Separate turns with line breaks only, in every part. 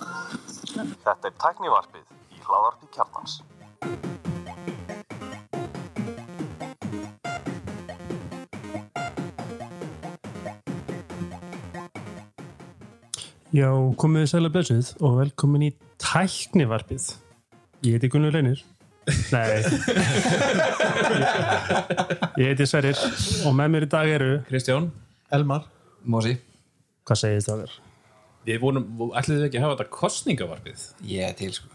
Þetta er tæknivarpið í hláðarpi kjarnans.
Já, komið sæla blessuð og velkomin í tæknivarpið. Ég heiti Gunnur Leinir. Nei. Ég- Ég heiti Sverir og með mér í dag eru,
Kristján,
Elmar
Mósi
hvað segir það þér?
við vorum, ætlum við ekki að hafa þetta kostningavarpið,
Ég er til sko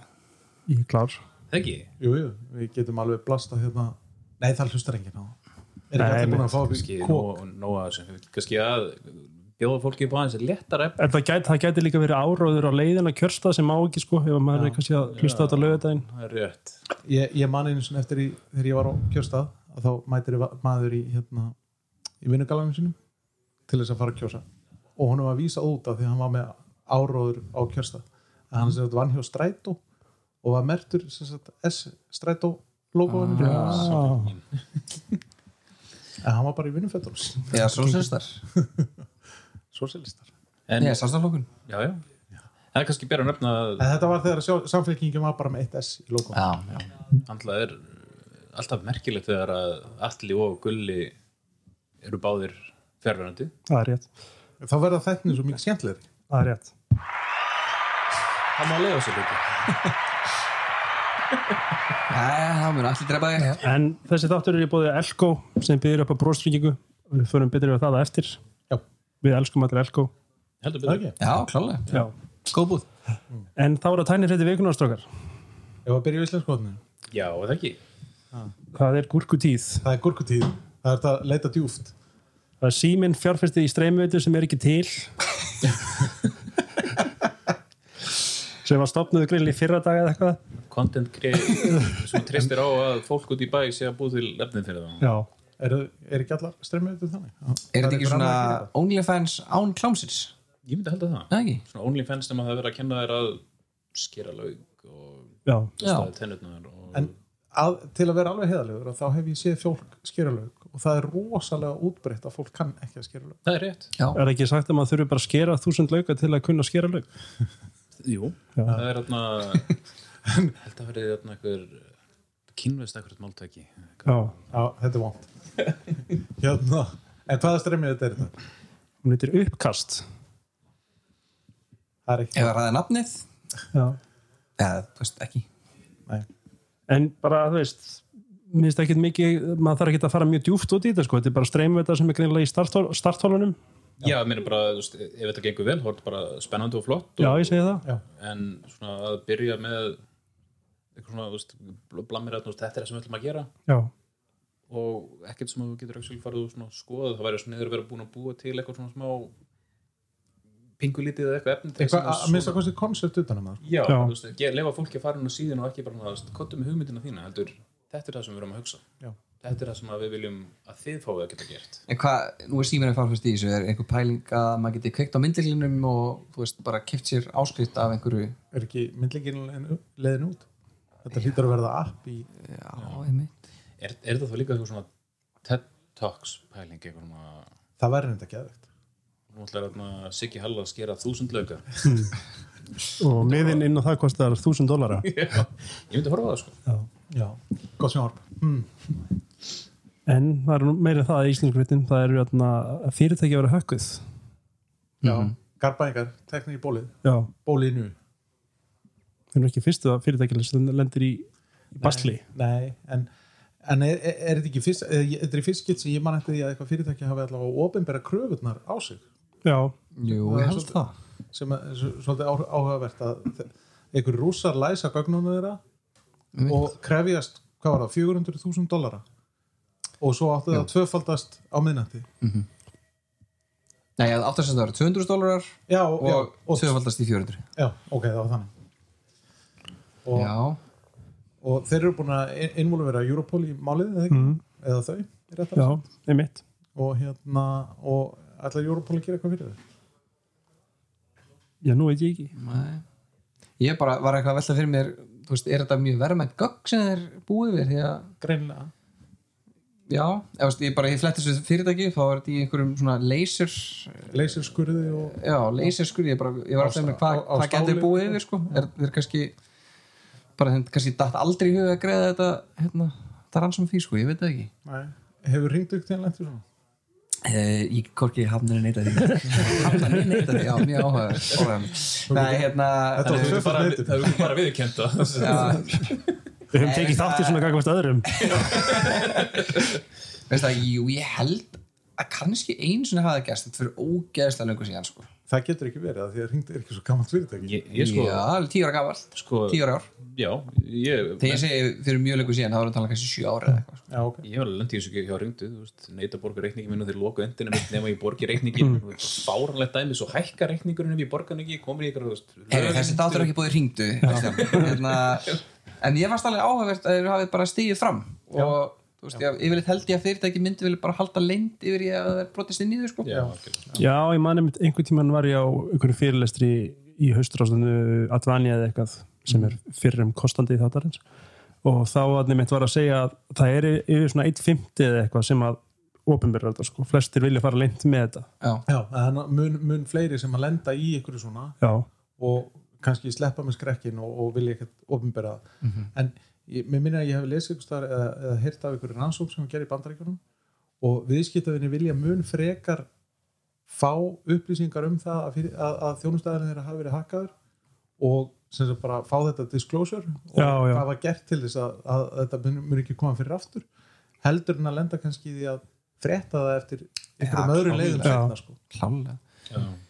Ég er klár.
ekki?
Jú, jú, við getum alveg blasta hérna Nei, það hlustar enginn á það Er
Nei,
ekki allir búin
mitt.
að fá upp
Kanski
í kók
nóg nóg að þessu, kannski að bjóða fólki upp aðeins léttara efni.
En það gæti, það gæti líka verið áróður á leiðin að kjörsta sem má ekki sko, ef maður er kannski að hlusta á þetta lögudaginn.
Það er rétt.
Ég, ég man einu sinni eftir í, þegar ég var á kjörstað að þá mætir va- maður í hérna í vinnugalanum sínum til þess að fara að kjósa og honum var vísað út af því að hann var með áróður á kjörstað að hann sem sagt vann hjá strætó og var mertur sem sagt S strætó logoðinu
Ah.
en hann var bara í vinnufötunum
Eða sósistar
sosialistar
En,
Nei, sálstaflokkun
já, já. Það er kannski bera að nefna að
en þetta var þegar sjálf- samfélkingin var bara með eitt S í logoðinu
Já, já
handlað er alltaf merkilegt þegar að Alli og Gulli eru báðir fjarverandi.
Það er rétt.
þá verða þættin svo mikið skemmtilegri
Það er rétt.
Það má lega sér líka.
Æ, það mun allir drepa þig
En þessi þáttur er í bóðið Elko sem byrjir upp á bróstringingu. Við förum betur yfir það á eftir.
Já.
Við elskum allir Elko.
Heldur
Það
betur.
er ekki?
Já, klálega
Já.
Góð búð
En þá er að tænir þetta vikunarstrókar.
Ef að byrja í Íslandskotinu
Já, eða ekki.
Það er gúrkutíð.
Það er gurkutíð Það er þetta að leita djúft
Það er síminn fjárfæstið í streymveitu sem er ekki til sem var stopnuð grill í fyrra dag eða eitthvað
Content creator sem tristir á að fólk út í bæ sé að búið til lefnin fyrir það.
Já,
Er, er ekki allar streymið til þannig?
Er
Það
þetta ekki
einhver
svona
annar að gera
OnlyFans án klámsins?
Ég myndi halda það.
Nei, ekki
svona OnlyFans nema það er verið að kenna þér að skera laug og
já,
staði tennutnar og
En að, til að vera alveg heðalegur þá hef ég séð fólk skeralaug og það er rosalega útbreytt að fólk kann ekki að skeralaug
það er rétt.
er ekki sagt að maður þurfi bara að skera þúsund lauka til að kunna skera lauk
Jú. Það er þarna held að verið þarna einhver kynvist ekkert máltæki.
Já,
Já, þetta er vant Hérna En hvaða streymið þetta er þetta?
hún heitir uppkast
Það er ekki
Ef að ræða nafnið?
Já,
Eða, þú veist, ekki
Nei.
en bara þú veist minnst ekkit mikið, maður þarf ekki að fara mjög djúft út í þetta sko, þetta er bara streymveita sem er greinlega í starthol- starthólunum,
Já, Já mér er bara, þú veist, ef þetta gengur vel, þá er þetta bara spennandi og flott
já
og,
ég segi það
Já,
en svona að byrja með eitthvað svona, þú veist, blamir að þetta er það sem við ætlum að gera
Já,
og ekkert sem þú getur auksel farið og svona skoða, það væri svona niður að vera búin að búa til eitthvað svona smá pingulítið eða eitthvað efni til
eitthvað að
þess
að minnst að kosti koncept utan að maður
Já,
Já.
þú veist, ég lefa fólki að fara inn á síðan og ekki bara, þú veist, kottu með hugmyndina þína, heldur, þetta er það sem við erum að hugsa.
Já.
Þetta er það sem að við viljum að þið fáið að geta gert.
En hvað, nú er síminu farfæst í þessu Er einhver pæling að maður geti kveikt á myndilinum og, þú veist, bara kipt sér áskrift af einhverju
Er ekki myndlingin leiðin- leiðin út? Þetta hlýtur að verða app í
Já, einmitt
Er, er það þá líka eitthvað svona TED Talks pæling, eitthvað svona,
Það verður þetta geðvegt
nú ætlar þarna Siggi Halla að skera þúsund lauka.
og miðin inn á það kostar þúsund dólara
Ég myndi horfa á það, sko.
Já, gott sem mm.
en það er nú meira en það í íslenskritin það er jörna, fyrirtæki að vera hökkuð
Já,
Mhm.
garbaðingar, Mm-hmm. teknir í bólið
Já,
Bólið nú
Við erum ekki fyrstu að fyrirtækjalins lendir í, í basli.
Nei, en, en er, er, er þetta ekki fyrst, eða ég- þetta er í fyrst skitt sem ég man eftir því að eitthvað fyrirtæki hafi allavega ofinbæra kröfurnar á sig
Já,
Jú,
Það er
ég held
svolítið-
það
sem er s- svolítið áhr- áhugavert að þe- einhver rússar læsa gögnunum þeirra og krefjast, hvað var það, 400.000 dollara og svo áttu það að tvöfaldast á miðnætti
Nei, að áttast að það eru 200 dólarar
Já, já,
og, og tvöfaldast í 400
já, ok, það var þannig og,
Já,
og þeir eru búin að innvolvera Europol í málið eða, mm.
Mhm.
eða þau, rétt að
já, einmitt.
og hérna og ætlar Europol að gera eitthvað fyrir þau
Já, nú veit ég ekki.
Nei. Ég bara var eitthvað að velta fyrir mér þú veist, er þetta mjög verðmætt gögg sem þeir búið við því að
Greinilega
já, ég, veist, ég bara, ég fletti þessu fyrirtæki þá var þetta í einhverjum svona laser
leysirskurði og
já, laser skur, ég, bara, ég
Á
var að segja mér
sta-
hvað
á- á
hva getur
stáli.
búið yfir sko, er, er kannski bara þeim kannski datt aldrei í huga að greiða þetta hérna, það er ansam því sko, ég veit það ekki
Nei. hefur ringt upp til lentur svona
Eh, Ég korki hafnir neita því Hafnir neita því, já, mjög áhuga Nei, hérna
Þetta var
þannig-
tvöföld
bara,
neitun.
það er ekki bara viðkjönda
Já,
Við höfum tekið þátt í svona gagvast öðrum
veist það, jú, ég held að kannski einu sinni hafa gæst þetta fyrir ógeðslega löngu síðan sko.
það getur ekki verið af því að ringt er ekki svo gammalt fyrirtæki
ég, ég sko,
Já, alveg tíu ára gamalt,
sko
tíu ára ár
já, ég,
Þegar ég segi fyrir mjög löngu síðan, þá erum við að tala um kannski sjö ára eða eitthvað sko.
já, ok
ég var lendið þessu ekki hjá ringdu neita að borga reikningi minn og þeir loku endinu mitt nema ég borgi reikningin
Mm.
fáranlegt dæmi, svo hækka reikningurinn ef ég borga hann ekki komur ég ykkur, þú veist
Heyri, Þessi dátur ekki búið hringdu hérna, En ég varst alveg áhugavert að þeir hafið bara stigið fram og þú veist, ég, yfirleitt held ég að fyrirtæki myndi vilja bara halda leynd yfir ég að það er brotist inn í þau sko.
já, algjörlega.
Já, ég man einmitt einhvern tímann var ég á einhverju fyrirlestri í haustrástundu Advani eða eitthvað sem er fyrrum kostandi í þáttarins og þá að nefnt var að segja að það er yfir svona 1.50 eða eitthvað sem að opinberða þetta sko, flestir vilja fara leint með þetta
Já.
já, þannig að mun, mun fleiri sem að lenda í ykkur svona
Já,
og kannski sleppa með skrekkin og, og vilja ekkert ofinbera mm
Mhm.
en ég, mér minna að ég hef lesið ykkur eða, eða heyrt af ykkur rannsók sem við gerum í bandaríkjunum og viðskiptafinni vilja mun frekar fá upplýsingar um það að, fyrir- að, að þjónustæðarinn þeirra hafi verið hakkaður og sem sagt bara fá þetta disclosure og
Já, já.
hvað var gert til þess að, að, þetta mun, mun ekki koma fyrir aftur heldur en að lenda kannski í því að frétta það eftir einhverjum öðrum leiðum
klárlega.
seinna, sko.
klálega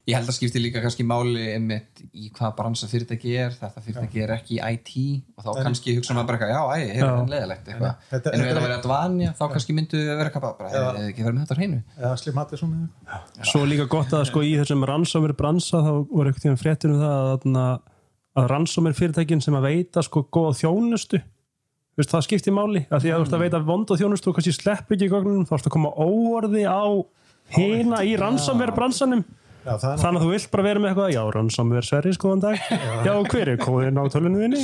ég held að skipti líka kannski máli einmitt í hvað bransa fyrirtæki er þetta fyrirtæki er ekki í IT og þá kannski hugsa maður bara eitthvað, já, æ, hefur
Já.
það leðilegt
Nei, nei, þetta-
eitthvað en ef
þetta
það
er-
verið að dvanja, þá kannski myndu við vera eitthvað bara, hefur þið ekki verið með þetta á hreinu
eða Slim Hattisson eða eitthvað
svo er líka gott að sko í þessum rannsómir bransa þá voru einhvern tímann fréttir um það að, þarna- að rannsómir fyrirtækin sem að veita sko góða þjónustu Veist, það skiptir máli, af því að þú ert að veita vonda þjónustu og kannski slepp ekki í gögnunum þá ertu að koma óorði á hina í rannsómir
Já, það er
Þannig að þú vilt bara vera með eitthvað, já, rannsómið er sverri, skoðan dag, já, hver er kóðin á tölunum þinni?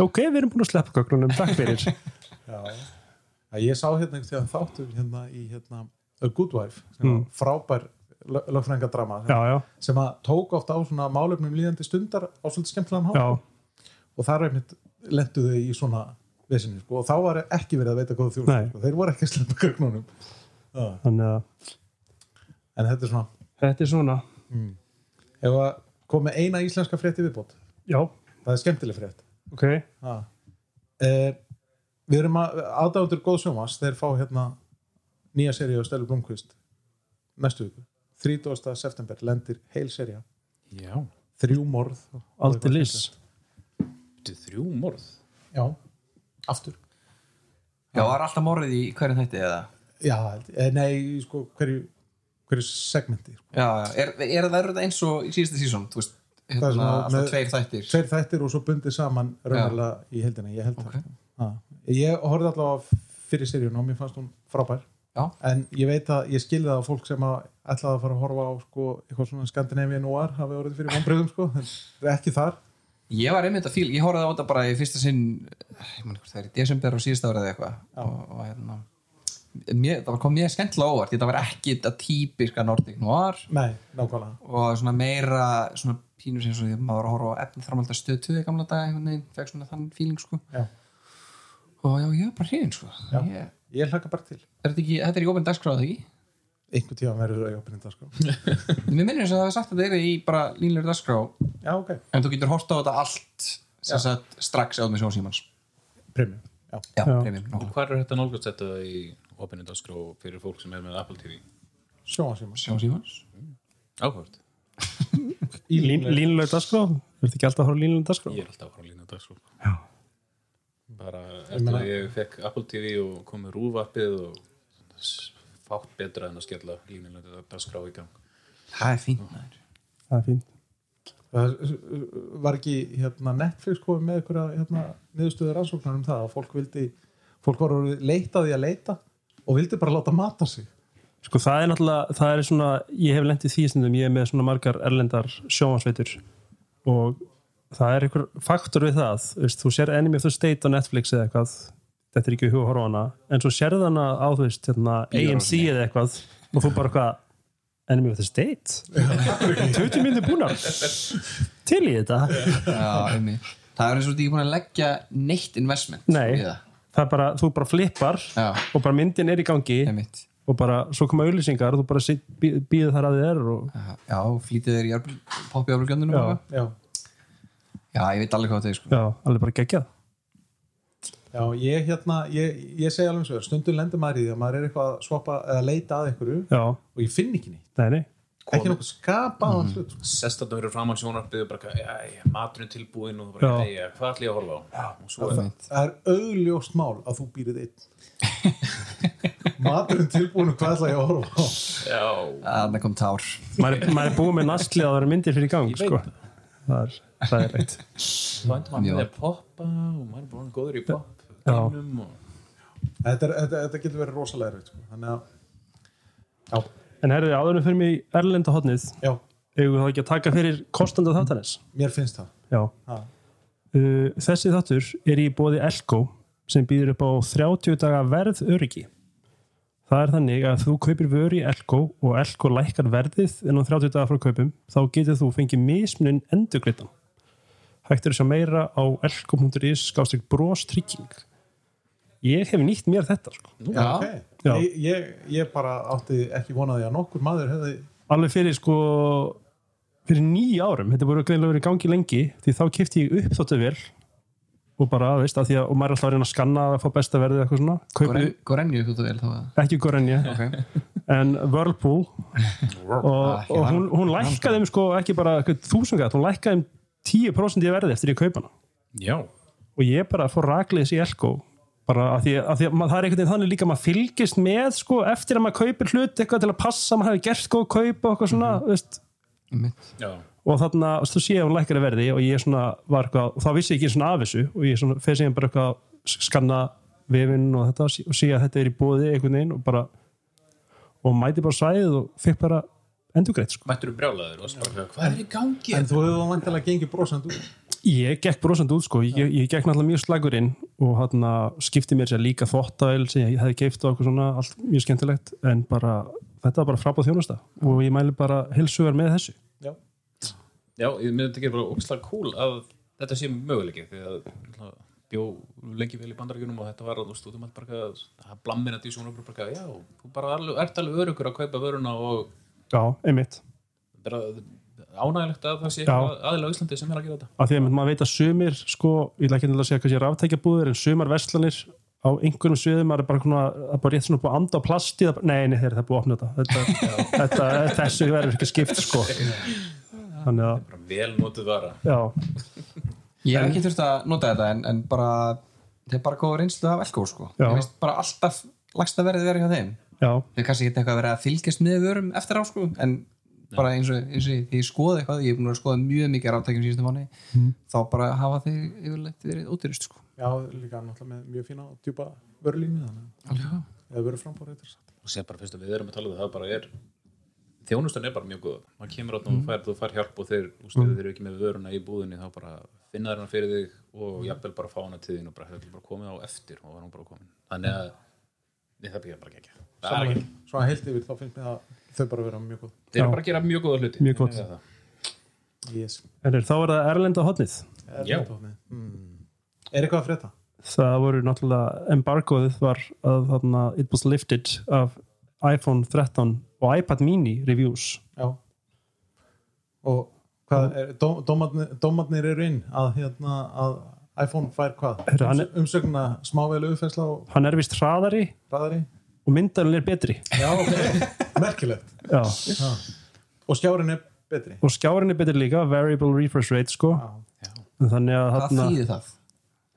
Ok, við erum búin að sleppa gögnunum, takk fyrir.
Já. Já, ég sá hérna einhvern tíðan þáttum hérna í hérna, A Good Wife sem mm. frábær lögfrængadrama
Já,
sem,
já,
sem að tók oft á svona málefnum líðandi stundar á svolítið skemmtilegan
já,
hátt og þar einmitt lendu þau í svona vesinni sko, og þá var ekki verið að veita góða þjóð
Nei.
sko. þeir voru ekki að sleppa gögnunum
þannig að
en þetta er svona
þetta er svona,
ef að koma með eina íslenska frétt í viðbót
já,
það er skemmtileg frétt
ok,
Ha. Eh, Við erum að aðdáðundur góð sjómas þeir fá hérna nýja seríu á Stelu Blomqvist næstu viku 30. september lendir heil seríu
já,
þrjú morð
aldrei lís.
þetta er þrjú morð
Já, aftur
já, var alltaf morðið í hverju þætti eða
Já, held- eh, nei, sko, hverju, hverju segmenti sko.
já, er, er það verið eins og í síðasta sísón þú veist,
Það
hérna,
er svona
alltaf
með-
tveir þættir
Tveir þættir og svo bundið saman raunarlega í heldina, ég held
Ok.
það ha. Ég horfði allavega á fyrir seríun og mér fannst hún frábær
já,
en ég veit að ég skilði það að fólk sem að ætlaði að fara að horfa á sko, eitthvað svona Scandinavian noir hafi orðið fyrir vonbröðum sko, en það er ekki þar
ég var einmitt að fíl, ég horfði á þetta bara í fyrsta sinn ég man ekki hvort það er í desember og síðasta árið eða eitthvað og, og hérna mér, það var kom mjög skemmtilega á óvart þetta var ekki þetta típiska Nordic Noir
nei, nákvæmlega
og svona meira svona pínur sem svona, maður var að horfa á efni þar alltaf stöð 2 í gamla dag einhvern veginn, fekk svona þann fíling sko
Já.
og já, ég er bara hrifin sko ég, er
ég hlaka bara til
þetta, ekki, þetta er í ópenn dagskráð ekki?
einhvern tíma verður að opna þetta sko.
mér minnir þess að það er sagt að þetta er í bara línlega dagskrá
já, ok,
en þú getur hort á þetta allt sem sagt strax áður með sjónsímans
premium já.
já, premium,
og
nokkuð
hvað er þetta nálgast þetta í opinindaskró fyrir fólk sem er með Apple TV
sjóma sjóma
sjónsímans
áhört,
Lín, línlega dagskrá, þú ert ekki alltaf að horfa á línlega dagskrá?
ég er alltaf að fara að lína dagskró
Já.
bara eftir að ég fekk Apple TV og kom með rúvarpið og s- fátt betra en að skella línulega dagskrá í gang
það er fínt maður
Það er fínt.
uh, var ekki hérna, Netflix komið með einhverja hérna, niðurstöður rannsóknar um það að fólk vildi fólk var orðið leitaði að leita og vildi bara láta mata sig
Sko það er náttúrulega, það er svona, ég hef lendið því stundum, ég er með svona margar erlendar sjónvarsveitur og það er einhver faktor við það, veist, þú sér Enemy of the State á Netflix eða eitthvað, þetta er ekki í huga að horfa á hana en svo sérð hana á þú veist hérna, AMC eða eitthvað og þú bara eitthvað enemy of the state 20 minnir búnar til í þetta
Já, einmitt. það er eins og þú ert ekki búin að leggja neitt investment
nei,
í það.
það er bara, þú bara flippar
Já.
og bara myndin er í gangi
Einmitt.
og bara, svo koma auðlýsingar og þú bara sit, bí, býður þar að þið er og,
Já, já, flýtið þeir í járn- poppi áflugjöndunum
Já.
já.
já,
já, ég veit alveg hvað það er sko.
já, alveg bara geggjað
já, ég hérna ég, ég segi alveg svo, stundum lendur maður í því að maður er eitthvað að svoppa eða leita að einhverju
já,
og ég finn ekki neitt
nei, nei,
ekki nokkuð
Mm,
skapaðan hlut sko.
sest að það verið framann sjónarpið og bara, jæja, maturinn tilbúin og þú bara,
Já.
jæja, hvað ætlum ég að horfa á? Og svo er
það, það er augljóst mál að þú býrið einn maturinn tilbúin og hvað ætla ég að horfa á
já,
Þannig kom tár
maður, er- maður er búið með nasli að það eru myndir fyrir í gang
Ég veit
sko. það er, það er reitt
þá endur maður
Já.
með að poppa og maður er bara góður í pop
Já.
geimnum og
þetta, er, þetta, þetta getur verið rosalega erfitt sko. þannig að já,
en herðu, áðurum fyrir mig í erlenda hotnið
já,
eigum við þá ekki að taka fyrir kostandi þáttanis
mér finnst það
já
ha.
uh, þessi þáttur er í bóði Elko sem býður upp á 30 daga verð öryggi það er þannig að þú kaupir vöru í Elko og Elko lækkar verðið en á 30 daga frá kaupum þá getur þú fengið mismunin endurgritan hægt er að sjá meira á elko.is skástrík brostrygging ég hef nýtt mér þetta sko.
já, ok.
Já.
Ég, ég, ég bara átti ekki vonaði að nokkur maður hefði
alveg fyrir sko fyrir nýja árum, þetta voru greinlega verið í gangi lengi því þá kipti ég upp þóttu vel og bara, veist, að því að og maður er alltaf að reyna að skanna að fá besta verðið eitthvað svona kaupi,
Gorenju þú þú vel þá að-
ekki Gorenja
Ok.
en Whirlpool
Ah,
og,
ekki
og
hann-
hún, hún lækkaði um sko ekki bara þúsungat, hún lækkaði um 10% í verði eftir ég kaupa hana
já,
og ég bara fór rakleis í Elko bara að því að, því að mað, það er einhvern veginn þannig líka að maður fylgist með sko eftir að maður kaupir hlut eitthvað til að passa að maður hefði gert góð kaup og eitthvað svona,
Mhm.
veist,
Einmitt.
já,
og þarna, og þú sé að hún lækkar að verði og ég svona var eitthvað, og þá vissi ég ekki svona af þessu og ég svona, fyrir síðan bara eitthvað að skanna vefinn og þetta og sé- og sé að þetta er í bóði einhvern veginn og bara og mæti bara á svæðið og fikk bara endurgreitt sko.
mættur brjálaður og svo bara, hvað er í gangi?
en þú hefði vantilega gengið brosand út
Ég gekk brosandi út sko, ég, ég gekk náttúrulega mjög slagur inn og hann skipti mér sér líka þvottavel sem ég hefði geift og eitthvað svona allt mjög skemmtilegt en bara, þetta var bara frábáð þjónusta og ég mæli bara heilsugar með þessu
já,
Já, ég myndi þetta ekki bara ógslag cool að þetta sé möguleiki því að náttúrulega, bjó lengi vel í bandarækjunum og þetta var að þú stúdum að bara að það blammina því sjónum bara já, þú bara alveg, ert alveg örugur að kaupa vöruna og
Já, einmitt
bara ánægilegt að það sé
Já.
eitthvað aðilega á Íslandi sem er að gera þetta
af því að maður veit að sumir sko, ég ætla ekki endilega að segja hvað sé ráftækjabúður en sumar verslanir á einhverjum sviðum maður er bara, svona, það er bara rétt svona búið að anda á plasti það, nei, nei, þeir, það er búið að opna þetta, þetta, þetta þessu verður ekki skipt sko. þannig að
bara vel notuð vara
já,
Ég hef ekki þurft að nota þetta en, en bara þetta er bara góð reynslu af Elko sko.
Já.
Ég veist bara alltaf lagsta verðið verið hjá þeim
já,
Þau kannski geta eitthvað að vera að fylgjast með vörum eftir á sko, en bara eins og, eins og því ég skoði eitthvað, ég er búin að vera að skoða mjög mikið ráttækjum síðustu mánu, þá bara hafa þeir yfirleitt verið ódýrist sko.
já, líka náttúrulega með mjög fína og djúpa vörlínu þannig að-
Alveg.
eða vörur frambúrið þetta
og sé bara fyrst að við erum að tala um það bara er þjónustan er bara mjög góð maður kemur átna og þú fær, þú fær hjálp og þeir úst, mm. þeir eru ekki með vöruna í búðinni þá bara finna þeir hana fyrir þig og jafnvel bara fá hana til þín og bara, þetta er bara komið á eftir og var hún bara komin þannig að ég, það byrja bara ekki ekki það er ekki
Saman- svona heilt yfir þá finnst mér að þau bara vera mjög góð
þeir eru bara að gera mjög góða hluti
Mjög gott.
Ég veit það.
yes.
en er, þá er það erlenda hotnið
er,
Já.
mm. er eitthvað að frétta?
það voru náttúrulega embargoðið var að þarna it was lifted af iPhone 13 og iPad mini reviews
já og hvað er, dó, dómarnir, dómarnir eru inn að, hérna, að iPhone fær hvað
Heyrðu, hann er-
umsögna smávelu uppfærsla og
hann er vist hraðari
bræðari
og myndarinn er betri
já, ok, merkilegt
já.
já. og skjárin er betri
og skjárin er betri líka variable refresh rate sko
já,
þannig að
Hvað
þarna-
þýðir það?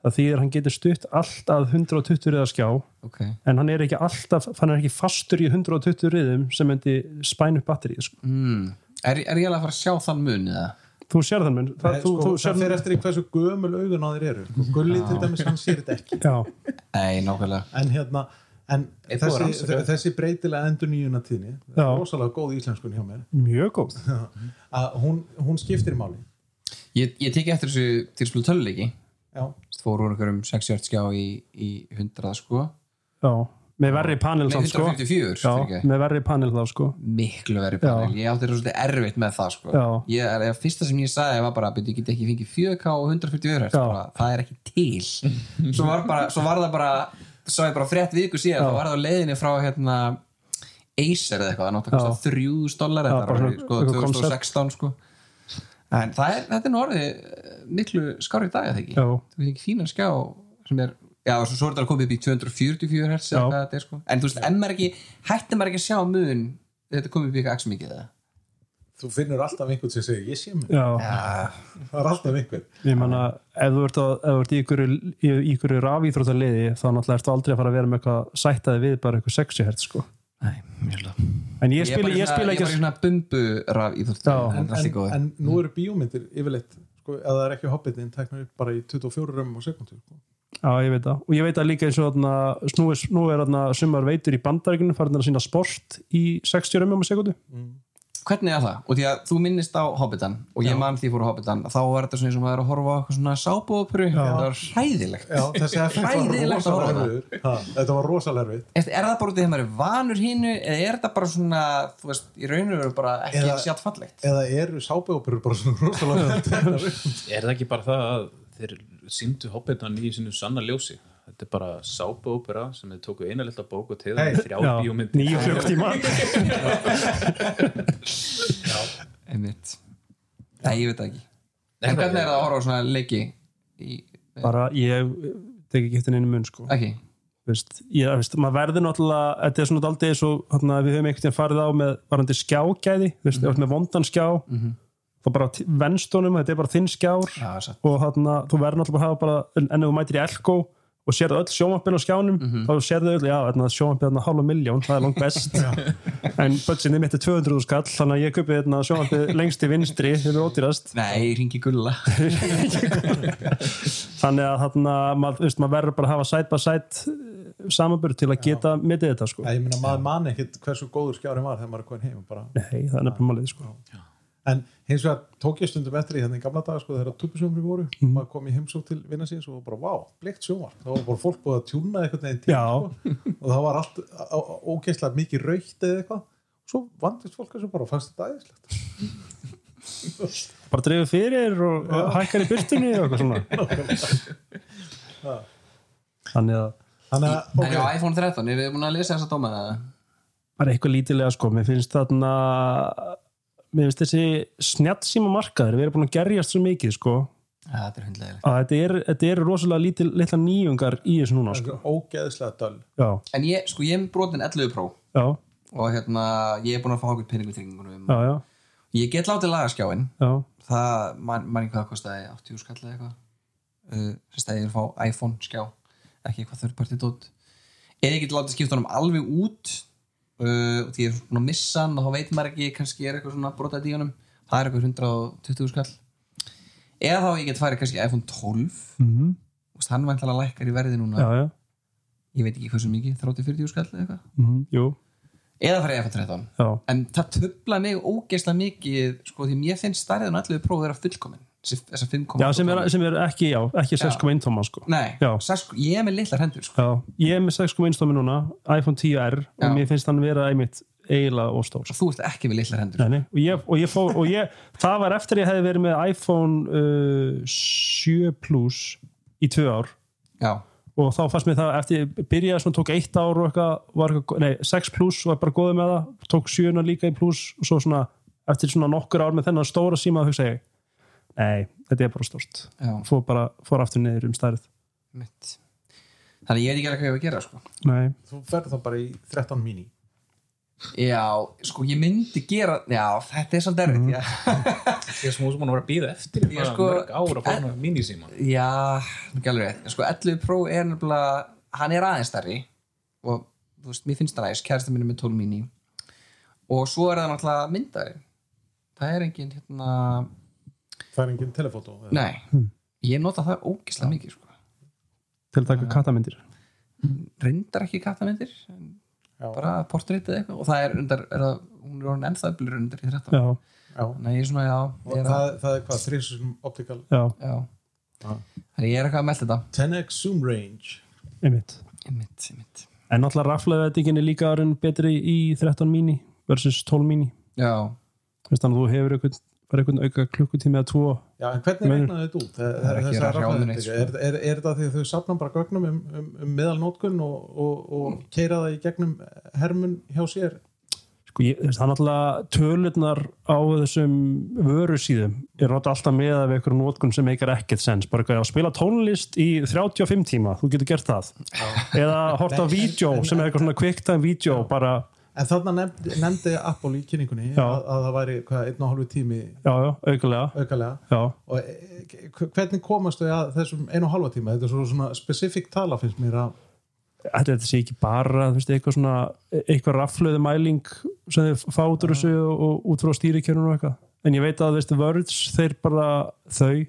það þýðir hann getur stutt allt að 120 riða skjá
Ok,
en hann er ekki alltaf, hann er ekki fastur í 120 riðum sem myndi spæn upp batterið sko.
mm. er, er ég alveg að fara að sjá þann mun eða?
þú sér þann mun það,
Það,
þú,
sko,
þú
það
sér
fyrir eftir í hversu gömul augun á þér eru sko. Gulli til dæmis hann sér þetta ekki
já,
Nei, nákvæmlega.
en hérna en
Er búið að
þessi,
rannsaka?
þessi breytilega endur nýjuna tíðni
Já.
rosalega góð íslenskun hjá mér
mjög góð
að hún, hún skiptir máli
Ég, ég teki eftir þessu til sko að spila töluleiki
Já. já,
Þú fór úr einhverjum 60 skjá í, í 100 sko
já, með verri panel
Nei,
þá sko
154,
já,
fyrirgefðu.
með verri panel þá sko
miklu verið panel, ég átti svolítið erfitt með það sko.
Já.
ég, er- ég, fyrsta sem ég sagði var bara, "Bíddu, ég get ekki fengið 4K og 144 hertz,
Já.
bara, það er ekki til svo var, bara, svo var það bara svo ég bara frétt viku síðan, þá var það á leiðinni frá hérna Acer eða eitthvað, það náttúrulega
Já.
kosta 3.000 dólar
Já, bara
þetta var
svona
í, sko,
eitthvað
2016 sko en það er, þetta er nú orðið eh, miklu skárið dag að það ekki
Já.
þú veist ekki fínan skjá sem er já, og svo, svo er þetta að koma upp í 244 hertz eða
Já.
hvað þetta er, sko. en þú veist, en maður ekki hættir maður ekki að sjá mun þetta komið upp í eitthvað x mikið eða
þú finnur alltaf einhvern sem segir ég sé mig,
já,
það er alltaf einhver
ég manna ef þú ert, að, ef þú ert í ykkur, í, í ykkur rafíþróta liði þá náttúrulega ertu aldrei að fara að vera með eitthvað sættaði við bara eitthvað 60 hertz sko
Nei, mjög hlut
en ég
Ég er
spila,
bara í
ég
svona-
spila
ég er
ekki
bara hérna- í svona bumbu raf í
Já.
það
en,
er allt í
en,
góðu
en nú eru bíómyndir yfirleitt sko, ef það er ekki hobbitin teknar upp bara í 24 römmum á sekundu sko.
Já, ég veit það. Og ég veit það líka eins og þarna, snúi, nú er þarna sumar veitur í bandaríkunum farin að sína sport í 60 römmum á sekundu.
hvernig er það? Og því að þú minnist á Hobbitan og ég man því fór á Hobbitan þá var þetta svona eins og maður er að horfa á eitthvað svona sábúopuru það var hræðilegt
já, þessi effekt var
Hræðilegt að horfa á
rosalega erfiður Ha, þetta var rosalega erfið
Eftir, er það bara út í þegar maður er vanur hinnu eða er þetta bara svona, þú veist, í rauninu er bara ekki
Eða-
sjátt fallegt
eða eru sábeóperur bara svona rosalega vel teknar upp?
Er það ekki bara það að þeir síndu hoppitann í sínu sanna ljósi? Þetta er bara sápuópera sem þeir tóku eina lilla bók og tegðu hey,
Hey.
þrjá bíómyndir.
nýju klukkutíma.
einmitt Nei, ég veit það ekki En hvernig er það að horfa á svona leiki í,
Bara ég tek ekki eftir einu mun, sko.
ekki,
Veist, ég, veist, maður verður náttúrulega, þetta er svona aldrei eins og hérna, við höfum einhvern veginn farið á með varandi skjágæði, veist, mm -hmm. með vondan skjá, þá bara t- venst honum, þetta er bara þinn skjár.
já, satt
og þarna, þú verður náttúrulega að hafa bara en, en ef þú mætir í Elko og sérðu öll sjónvarpin á skjánum, þá sérðu öll já, þarna, sjónvarpin þarna hálfa miljón, það er langt best en budgetið mitt er 200 skall þannig að ég kupi þarna sjónvarpið lengst í vinstri sem er ódýrast
Nei, ringi gulla
þannig að þarna, maður veist, maður verður bara að hafa side by side samanbörð til að geta mitið þetta sko
Já, ég meina maður man ekkit hversu góður skjárin var þegar maður er komin heim og bara.
Nei, það er nefnilega málið sko
en hins vegar tók ég stundum eftir í þannig gamla dag sko, þegar tuppisjónfri voru maður kom í heimsók til vinna síns og bara vá, blikt sjónvarp, þá var bara fólk búið að tjúna eitthvað neginn til
Já.
sko, og það var allt á- á- ógeðslega mikið raukt eða eitthvað svo vandist fólk þessu bara og fannst þetta aðeinslegt
bara dreifir fyrir og, og hækkar í byrtunni og eitthvað svona þannig að
þannig að,
En
ok,
á iPhone 13, er við búin að lesa þessa dóma eða?
bara eitthvað lítilega sko, mér finnst þarna mér finnst þessi snjallsíma markaður, við erum búin að gerjast svo mikið sko,
Já, þetta er hundlegilegt
að þetta er, þetta er rosalega lítil, litla nýjungar í þessu núna sko,
sko. ógeðslega döl
já,
En ég, sko, ég er með brotin 11 Pro
já,
og hérna, ég er búin að fá okkur peningur tryggingunum
já já,
Ég get látið lagaskjáin
já,
það, man, man ekki hvað það kostaði 80 skall eða eitthvað uh, sem stæði að fá iPhone skjá ekki eitthvað þörfpartið dót eða ég geti látið skipta honum alveg út uh, og því ég er svona að missa hann og þá veit maður ekki, kannski er eitthvað svona brotað í honum það er eitthvað 120 skall eða þá ég get farið kannski í iPhone 12
mm -hmm.
og hann vantlega lækkar í verði núna
já, já
ég veit ekki hversu mikið, 30-40 skall eða eitthvað
mm -hmm. jú,
eða farið í iPhone 13
já,
en það töfla mig ógeðslega mikið sko því mér finnst stærðin allir próf vera fullkomin þessar 5,8
já sem, er, sem er ekki, já, ekki 6.1 tóma sko,
Nei,
Já.
sagði, sko, ég er með litlar hendur sko.
já, ég er með 6.1 tóma núna, iPhone 10R
Já.
og mér finnst hann vera einmitt eiginlega og stór
og þú ert ekki með litlar hendur sko.
Nei, nei, og ég, og ég fór og ég, það var eftir að ég hefði verið með iPhone uh, 7 Plus í tvö ár
Já,
og þá fannst mér það eftir ég byrjaði svona tók eitt ár og eitthvað var eitthvað, nei, 6 plus var bara góðið með það tók 7 líka í plus og svo svona eftir svona nokkur ár með þennan stóra síma þá hugsa ég, nei, þetta er bara stórt
já,
fór bara, fór aftur niður um stærð
mitt Þannig ég veit ekki alveg hvað ég á að gera sko.
nei,
þú ferð það bara í 13 mini
Já, sko ég myndi gera Já, þetta er svolítið
Mhm.
erfitt já.
Ég er smúið sem búin að vera að býða eftir
Ég
ég,
sko-
sko, mörg ára að fá hana minisíma.
Já, ekki alveg rétt. sko, 11 Pro er nefnilega hann er aðeins stærri og þú veist, mér finnst það næst, kærasta minni með 12 mini og svo er það náttúrulega myndari það er engin hérna,
það er engin telefótó eða-
nei
Hm.
ég nota það ógislega mikið sko.
til að taka katamyndir
reyndar ekki kattamindir en
Já.
bara portrétt eða eitthvað og það er, reyndar, er það, hún er orðin ennþá öflur reyndar í 13
já,
Já.
Nei, ég er svona, já,
Og
ég er að
það, það er hvað, þrísum optical
já,
já, Þannig ég er eitthvað að melda þetta
10x zoom range
einmitt
einmitt, einmitt.
en náttúrulega raflaðveitingin er líka orðin betri í 13 mini versus 12 mini
Já,
Veist þannig að þú hefur einhvern, bara einhvern auka klukkutími eða tvo
Já, en hvernig
Meinur-
regnaði þetta út? Það,
Það er ekki
þessar
að hrjáðu
rafleiðingar?
neitt, sko.
er, er, er það því að þau safna bara gögnum um, um, um meðalnótkun og, og, og keira það í gegnum hermun hjá sér?
sko, ég, þess, það er náttúrulega tölurnar á þessum vöru síðum er náttúrulega alltaf með af einhverjum notkun sem meikar ekkert sens, bara eitthvað að spila tónlist í 35 tíma, þú getur gert það eða horta á
Nei,
vídeo
en-
sem er eitthvað svona kvicktime vídeo bara,
En þarna nefndi, nefndi Apple í kynningunni
Já.
að, að það væri hvað, einn og hálfu tími
já, já, aukulega
aukalega
já,
og e, e, hvernig komast þau að þessum einu og halva tíma? Þetta er svo svona specifík tala finnst mér að
þetta þetta sé ekki bara þú veist, eitthvað svona, e- eitthvað raflöðu mæling sem þau fá út úr þessu og, og út frá stýrikjörnum og eitthvað en ég veit að þú veist, Words, þeir bara þau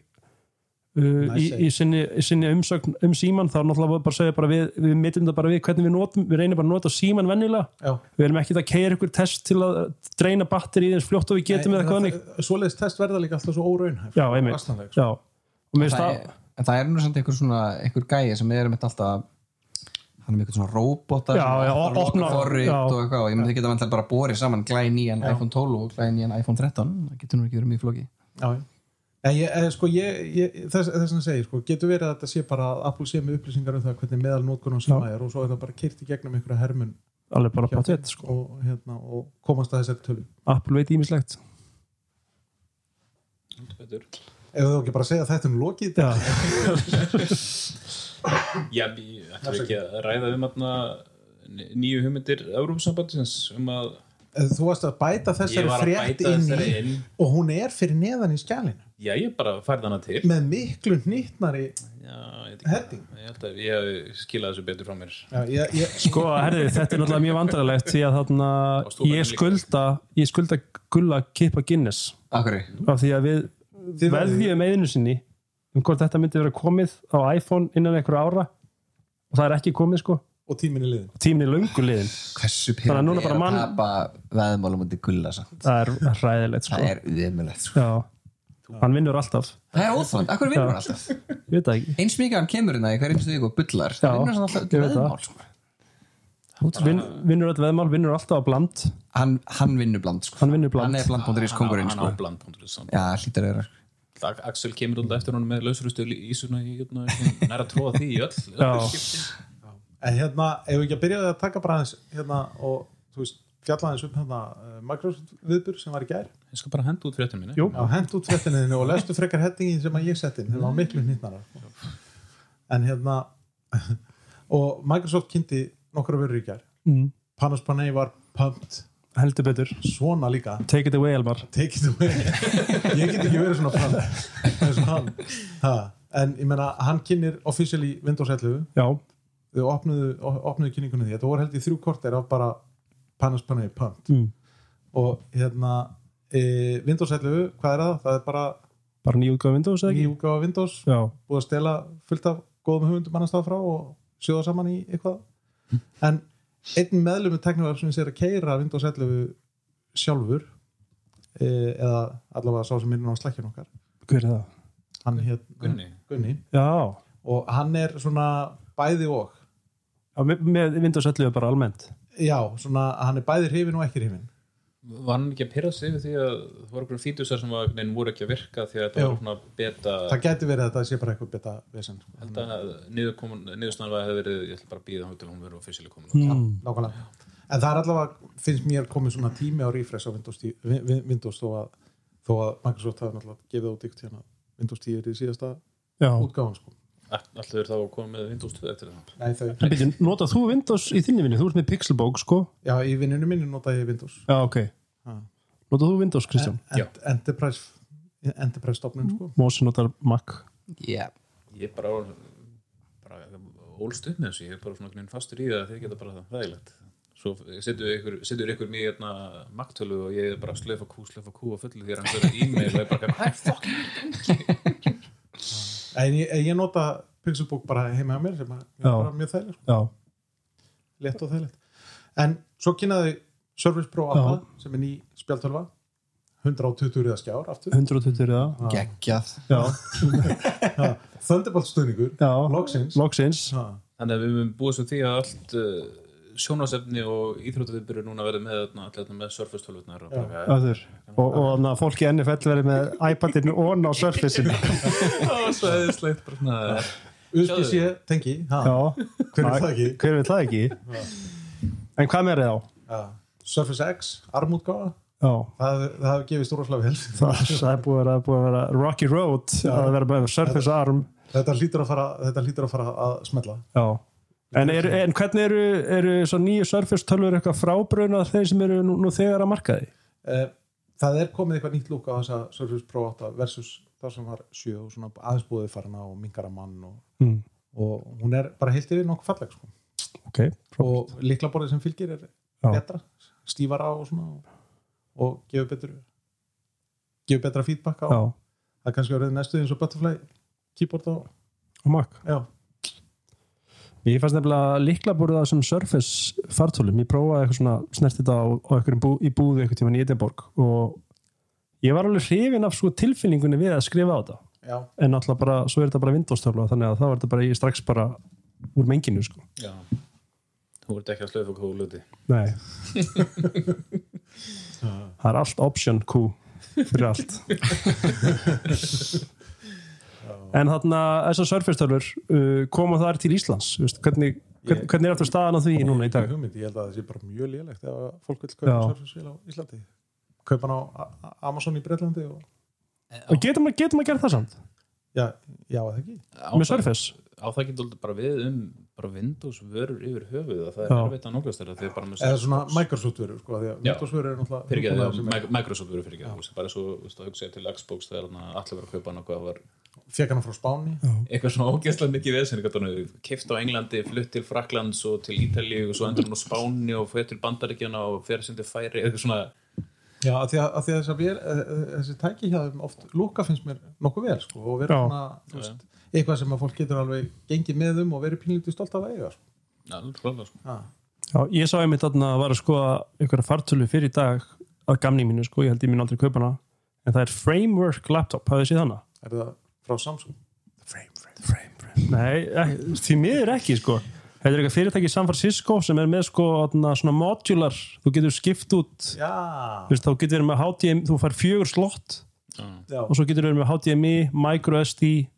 uh, í, í, sinni, í sinni umsögn um síman þá náttúrulega bara segja bara við, við mittum það bara við hvernig við notum, við reynum bara að nota síman venjulega,
já,
við erum ekki að keira ykkur test til að dreina batteri í þess fljótt og við getum eða eitthvað þannig,
Svoleiðis test verða líka alltaf svo óraunhæf
já, einmitt
Vastanleg,
já, og mér finnst það
það er, en það er nú samt einhver svona einhver gæi sem er með alltaf hann er með einhvern svona róbota
Já, já, opnar-
forrið
já.
og eitthvað og ég myndi ekki að bara borið saman glæði nýjan iPhone 12 og glæði nýjan iPhone 13 það getur nú ekki verið mjög flóki
Já, já. Nei, ég, eh, sko, ég, ég, þess, þess að segja, sko, getur verið að þetta sé bara að Apple sé með upplýsingar um það hvernig meðal nótkunum sem er og svo er það bara kyrt í gegnum einhverja hermun
alveg bara
hjá
bátt
þeim
veit, sko,
og, hérna, og komast að þessari tölu.
Apple veit ímislegt
Heldur betur.
Ef þú ekki bara segja þetta um lokið,
já,
Já, ég ætlum við ekki að ræða um aðna nýju hugmyndir Európsambandisins um að
Eh, þú varst að bæta
ég
þessari
var að
frétt
bæta
inn
þessari
í
inn
og hún er fyrir neðan í skjælinu
Já, ég bara færði hana til
með miklu hnýtnari
Já, ég, veit ekki.
heading.
ég held að ég hafi skilað þessu betur frá mér
Já, ég, ég,
sko, herði, þetta er náttúrulega mjög vandrarlegt því að þarna,
Og stúlkan
ég
líka.
skulda ég skulda gulla kippa Guinness
Akkurri,
af því að við
Þið
veðjum einu sinni um hvort þetta myndi vera komið á iPhone innan einhverja ára og það er ekki komið sko
og tíminni liðin.
tímin er löngu liðin
hversu
Þannig að núna
pyrrandi er
bara
að
mann- Sko.
tapa veðmálum undir gulla samt
það er hræðilegt sko
það er uðmjölegt sko.
Já. hann vinnur alltaf
það er óþvönd, akkur vinnur hann alltaf
ég veit það ekki
eins mikið hann kemur hérna í hverjum stöðu og bullar
Já,
það vinnur hann alltaf
ég
undir
veit það.
veðmál sko.
Vin, vinnur alltaf veðmál, vinnur alltaf á bland
hann, hann vinnur bland sko.
Hann vinnur bland.
hann er bland.is kongurinn
Hann á
sko.
bland.is samt.
já, hlýtar að vera sko.
Dag- Axel kemur alltaf eftir honum með lausrustu ísuna í hérna, næra tróða því í öll
Já.
öll skipti.
En hérna, ef við ekki að byrjaði að taka bara aðeins hérna og, þú veist, fjalla aðeins um hérna eh, Microsoft viðbur sem var í gær.
Ég skal bara henda út eh? fréttin minni
Jú.
Já, hent út fréttinniðinu og lestu frekar hettingin sem að ég setti inn, það var miklu nýttnara en hérna og Microsoft kynnti nokkra vöruríkjar
mm.
Panos Panay var pumped
heldur betur,
svona líka,
take it away Elmar
take it away ég get ekki verið svona pumped eins og hann ha. en ég meina, hann kynnir officially Windows 11
Já.
þau opnuðu, opnuðu kynningunni því þetta voru held í þrjú korter af bara Panos Panay pumped
Mm.
og hérna e, Windows 11, hvað er það? það er bara
bara nýjúka Windows eða ekki?
nýjúka á Windows
Já.
búið að stela fullt af góðum hugmyndum annars staðar frá og sjóða saman í eitthvað en einn meðlum með teknivar sem er að keira Windows 11 sjálfur eh, eða allavega sá sem er inn á slækjun okkar
hver er það?
hann hétt
Gunni.
Gunni
Já,
og hann er svona bæði og
Já, með, með Windows 11 bara almennt
já, svona hann er bæði hrifin og ekki hrifin
Var hann ekki að pyrra sig yfir því að það voru einhverjum fítusar sem var, nein, voru ekki að virka því að þetta
Jú.
var svona beta
það gæti verið að það sé bara eitthvað beta vesen sko.
held að niðurstæðan var að hefði verið ég ætla bara að býða hann til hún verið ofisíli komin
mm.
nákvæmlega en það er allavega, finnst mér komið svona tími á refresh á Windows 10, Win- Win- Windows þó að, þó að Microsoft hafi náttúrulega gefið út ykkur hérna Windows 10 er í síðasta
Já,
útgáðan sko.
Alltaf er þá að koma með Windows 2 eftir það
Nei, þau.
en byrju, nota þú Windows í þinni vinni, þú ert með Pixelbook sko
Já, í vinninu minni nota ég Windows.
Já, ok
Ha.
Nota þú Windows, Kristján?
Já.
Ent, enterprise, enterprise stofnun, sko.
Mósi notar Mac
yeah.
Ég bara, bara ólst upp með þessu, ég er bara svona einhvern fastur í það að þeir geta bara það, það er leitt Svo setur ykkur, setur ykkur mér hérna maktölu og ég er bara slöfa kú, slöfa kú og fullu því að hann verður e-mail og ég bara, hvað er fokk?
En ég, en ég nota Pixelbook bara heima hjá mér sem er
Já.
bara mjög þægilegt, sko.
Já,
Lett og þægilegt. En svo kynnaði Service Pro Apple, sem er ný spjaltölva. 120 reyða skjár aftur
120 er það
geggjað
já,
Thunderbolt stuðningur,
já,
loksins
loksins
Ha,
Þannig að við munum búast um því að allt uh, sjónasefni og íþróttaviðbyrju núna verið með þarna, allir þarna með Surface tölvutnar og bara eitthvað.
öður og, og þannig að fólki enni fell verið með iPadinu on á surface-in
Það var svo eðislegt bara svona
USB-C tengi ha,
já,
hver er það ekki
hver vil það ekki en hvað meir er þá?
ja. Surface X, armútgáfa
Já,
það, það hefur gefist úrvarslega vel
það, það er búið að, vera- búið að vera Rocky Road að vera bara surface arm
þetta hlýtur að fara, þetta hlýtur að, fara að smetla
Já En, er, en hvernig eru, eru svo nýju Surface tölvur eitthvað frábruna þeir sem eru nú, nú þegar að markaði?
Eh, það er komið eitthvað nýtt lúk á þessa Surface Pro 8 versus það sem var 7 og svona aðeins búið farna og minkara mann og,
Mm.
og hún er bara heilt yfir nokkuð falleg sko.
Ok, frábært.
og liklaborðið sem fylgir er
Já.
betra, stífara og svona og, og gefur betur gefur betra feedback á
Já,
það er kannski verið næstu eins og butterfly keyboard á,
og makk.
já,
Ég fannst nefnilega líkla búið það sem Surface fartölum. Ég prófaði eitthvað svona snert þetta á, á einhverjum bú, í búðu einhvern tímann í Edinborg og ég var alveg hrifin af sko tilfinningunni við að skrifa á þetta.
já,
En náttúrulega bara, svo er þetta bara Windows tölva þannig að það var þetta bara, ég strax bara úr menginu sko.
Já. Þú ert ekki að slöfa hvað þú luti.
Nei. það er allt option Q fyrir allt. en þarna þessar surface-tölur uh, koma þar til Íslands veist, hvernig, hvernig, hvernig er aftur staðan á því núna í
Ég hef
dag?
ekki hugmynd, ég held að það sé bara mjög lélegt ef að fólk vil
Já.
kaupa Surface vél á Íslandi kaupa hann á A- A- Amazon í Breitlandi og
Og getum, að- getum að gera það samt?
já, já eða ekki
Á
Með
það-
surface?
á það getur aldrei bara við um bara Windows vörur yfir höfuð að það er
Já.
erfitt að nálgast þeirra því að bara með
eða svona Microsoft veru sko, því að
Já.
Windows veru er náttúrulega
fyrirgeðu,
náttúrulega sem er-
Mi- Microsoft vörur fyrirgeðu, þú veist, bara svo þú veist, að hugsa ég til Xbox þegar hann allir verið að kaupa hann og hvað var
fékk hann frá Spáni
eitthvað svona ógeðslega mikið vesinn keift á Englandi, flutt til Fraklands og til Ítalíu og svo endur hann á Spáni og fyrir til Bandaríkjana og fyrir sem til Færi eitthvað svona,
já, að því að, að, því að þessar vél, eh, eh, þessi tæki hjá þeim oft lúka finnst mér nokkuð vel sko, og verið
Já.
svona þú veist, eitthvað sem að fólk getur alveg gengið með um og verið pínlítið stolt af að eiga sko.
já, klálega sko
Já.
Já, ég sá einmitt þarna að var að skoða einhverja fartölu fyrir í dag að gamni mínu sko, ég held ég mín aldrei kaupa hana en það er Framework Laptop, hafið þið séð hana?
er það frá Samsung
frame, frame, frame, frame. Nei, ek- því miður ekki sko Þetta er eitthvað fyrirtæki í San Francisco sem er með sko atna, svona modular þú getur skipt út
já,
þú veist, þá getur verið með HDMI, þú fær fjögur slott
já,
og svo getur verið með HDMI, micro SD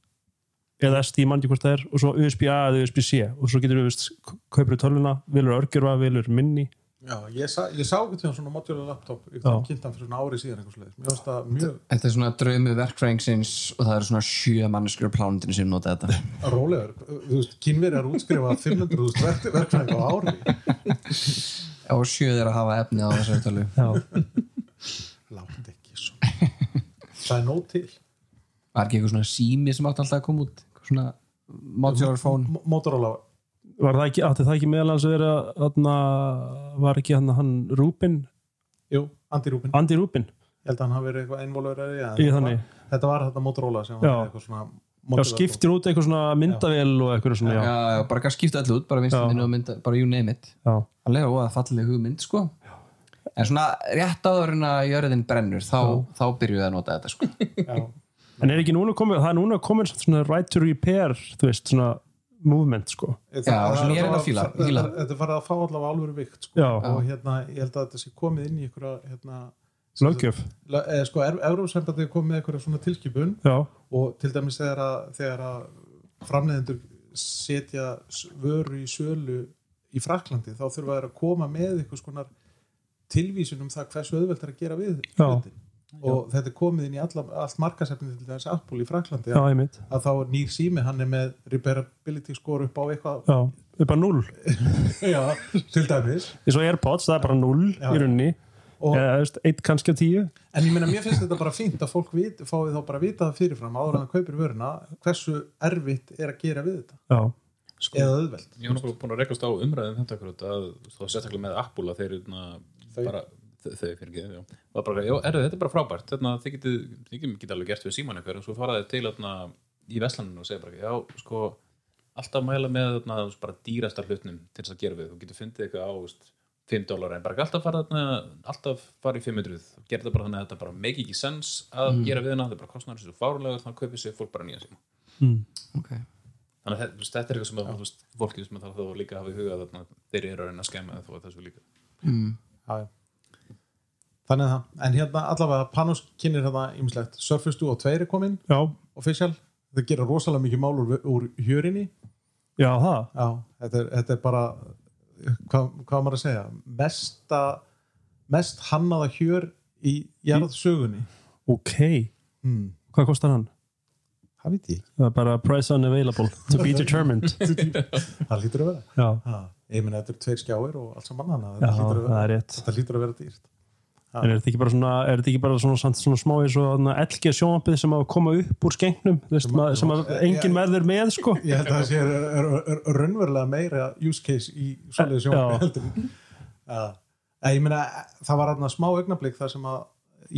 eða SD, mann ekki hvort það er og svo USB-A eða USB-C og svo getur við kaupir tölvuna, vilur örgjurva, vilur minni
já ég sá, ég sá ekki tíðan svona modular laptop ég
Já.
kynnti hann fyrir svona ári síðan eitthvað svoleiðis. mér finnst það mjög
Þetta er svona draumið verkfræðingsins og það eru svona sjö manneskur á plánundinu sem nota þetta
Rólegur, þú veist, kynverjar útskrifa 500.000 verk- verkfræðinga á ári
og sjö þeir að hafa efni á þessari tölu
Já,
Látt ekki svo Það er nóg til
Var ekki eitthvað svona sími sem átti alltaf að koma út Eitthvað svona modular phone
M- Motorola,
var það ekki, átti það ekki meðalans að vera, atna, var ekki hann, hann Rubin,
jú, Andy Rubin
Andy Rubin
Ég held að hann hafi verið eitthvað einvolverið
í þannig
Þetta var þetta Motorola sem
Já.
var eitthvað svona
Já,
Motorola-
skiptir út eitthvað svona myndavél og eitthvað svona, sko.
Já,
já.
já, bara kannski skipta allu út, bara vinstinu og mynda, bara you name it
já.
Allega óða falleg hugmynd, sko En svona rétt áður en að jörðin brennur þá, þá byrjuðu að nota þetta, sko
Já,
En er ekki núna komið, það er núna komið samt svona right to repair, þú veist, svona movement, sko.
Það-
Já,
það
sem
er
ég reyndar
að-
fíla-
það-
fíla.
það- Þetta er farið að fá allavega alvöru vikt sko.
Já,
og hérna, ég held að þetta sé komið inn í einhverja hérna,
löggjöf.
la- eh, sko, Evrópsembandið komið með einhverja svona tilkipun
Já,
og til dæmis þegar að, þegar að framleiðendur setja s- vöru í sölu í Fraklandi þá þurfa þeir að koma með einhvers konar tilvísun um það hversu auðvelt er að gera við
Já.
hlutin. og þetta er komið inn í alla, allt markasefni til dæmis Apple í Fraklandi
já,
að,
einmitt.
að þá er nýr sími hann er með repairability score upp á eitthvað
Já, það er bara null.
já, til dæmis
Eins og AirPods, það er bara null
Já.
í rauninni.
Og-
Eða, þú veist, eitt kannski af tíu.
En ég meina, mér finnst þetta bara fínt að fólk vit, fái þá bara að vita það fyrirfram áður en það kaupir vöruna hversu erfitt er að gera við þetta
Já, Sko,
eða auðvelt
Ég hef náttúrulega búin að rekast á umræðum þetta akkurat að þá sérstaklega með Apple að þeir na,
Þau.
bara, þau þau fyrir ekki, já. Var bara, já, er, þetta er bara frábært, þarna þið getið, þið getið get alveg gert við síman ykkur og svo fara þeir til þarna í veslaninu og segja bara, já, sko, hérna, alltaf mæla með þarna þú veist, bara dýrasta hlutnum til þess að gera við, þú getur fundið eitthvað á, þú veist, 5 dólar en bara alltaf fara, þarna- alltaf fara í 500 og gera þetta bara þannig að þetta bara make ekki sens að gera við hana, þetta er bara kostnar þessu fárunlega þannig að kaupið sér fólk bara nýja sig
ok
þannig að þetta- þú veist, þetta er eitthvað sem að, þú veist, fólki sem þarf þá líka að hafa í huga þarna, þeir eru að reyna að skemma þó að þessu líka
Já, já. Þannig að það, en hérna allavega Panos kynir hérna ýmislegt Surface Duo 2 er komin,
já,
official það gera rosalega mikið mál úr, úr hjörinni
já það
Já, þetta er, þetta er bara hvað, hvað á maður að segja mesta, mest hannaða hjör í jarðsögunni
ok,
hmm.
hvað kostar hann?
Það veit ég ekki,
það er bara price unavailable to be determined
það lítur að vera
já,
ha, Ég meina þetta eru tveir skjáir og allt saman hana
já
þetta hlýtur að
það
vera-
er rétt
þetta lítur að vera dýrt
en er þetta ekki bara svona, er þetta ekki bara svona, samt svona smá eins og elgi sjónvampið sem á að koma upp úr skengnum þú veist,
Sem að-
maður- sem að
Já,
enginn verður með sko
Ég held að það sé er, er, er, er raunverulega meira use case í svoleiðis
Já.
sjónvarpi heldur en- Já. Ég meina, það var aðna smá augnablík þar sem að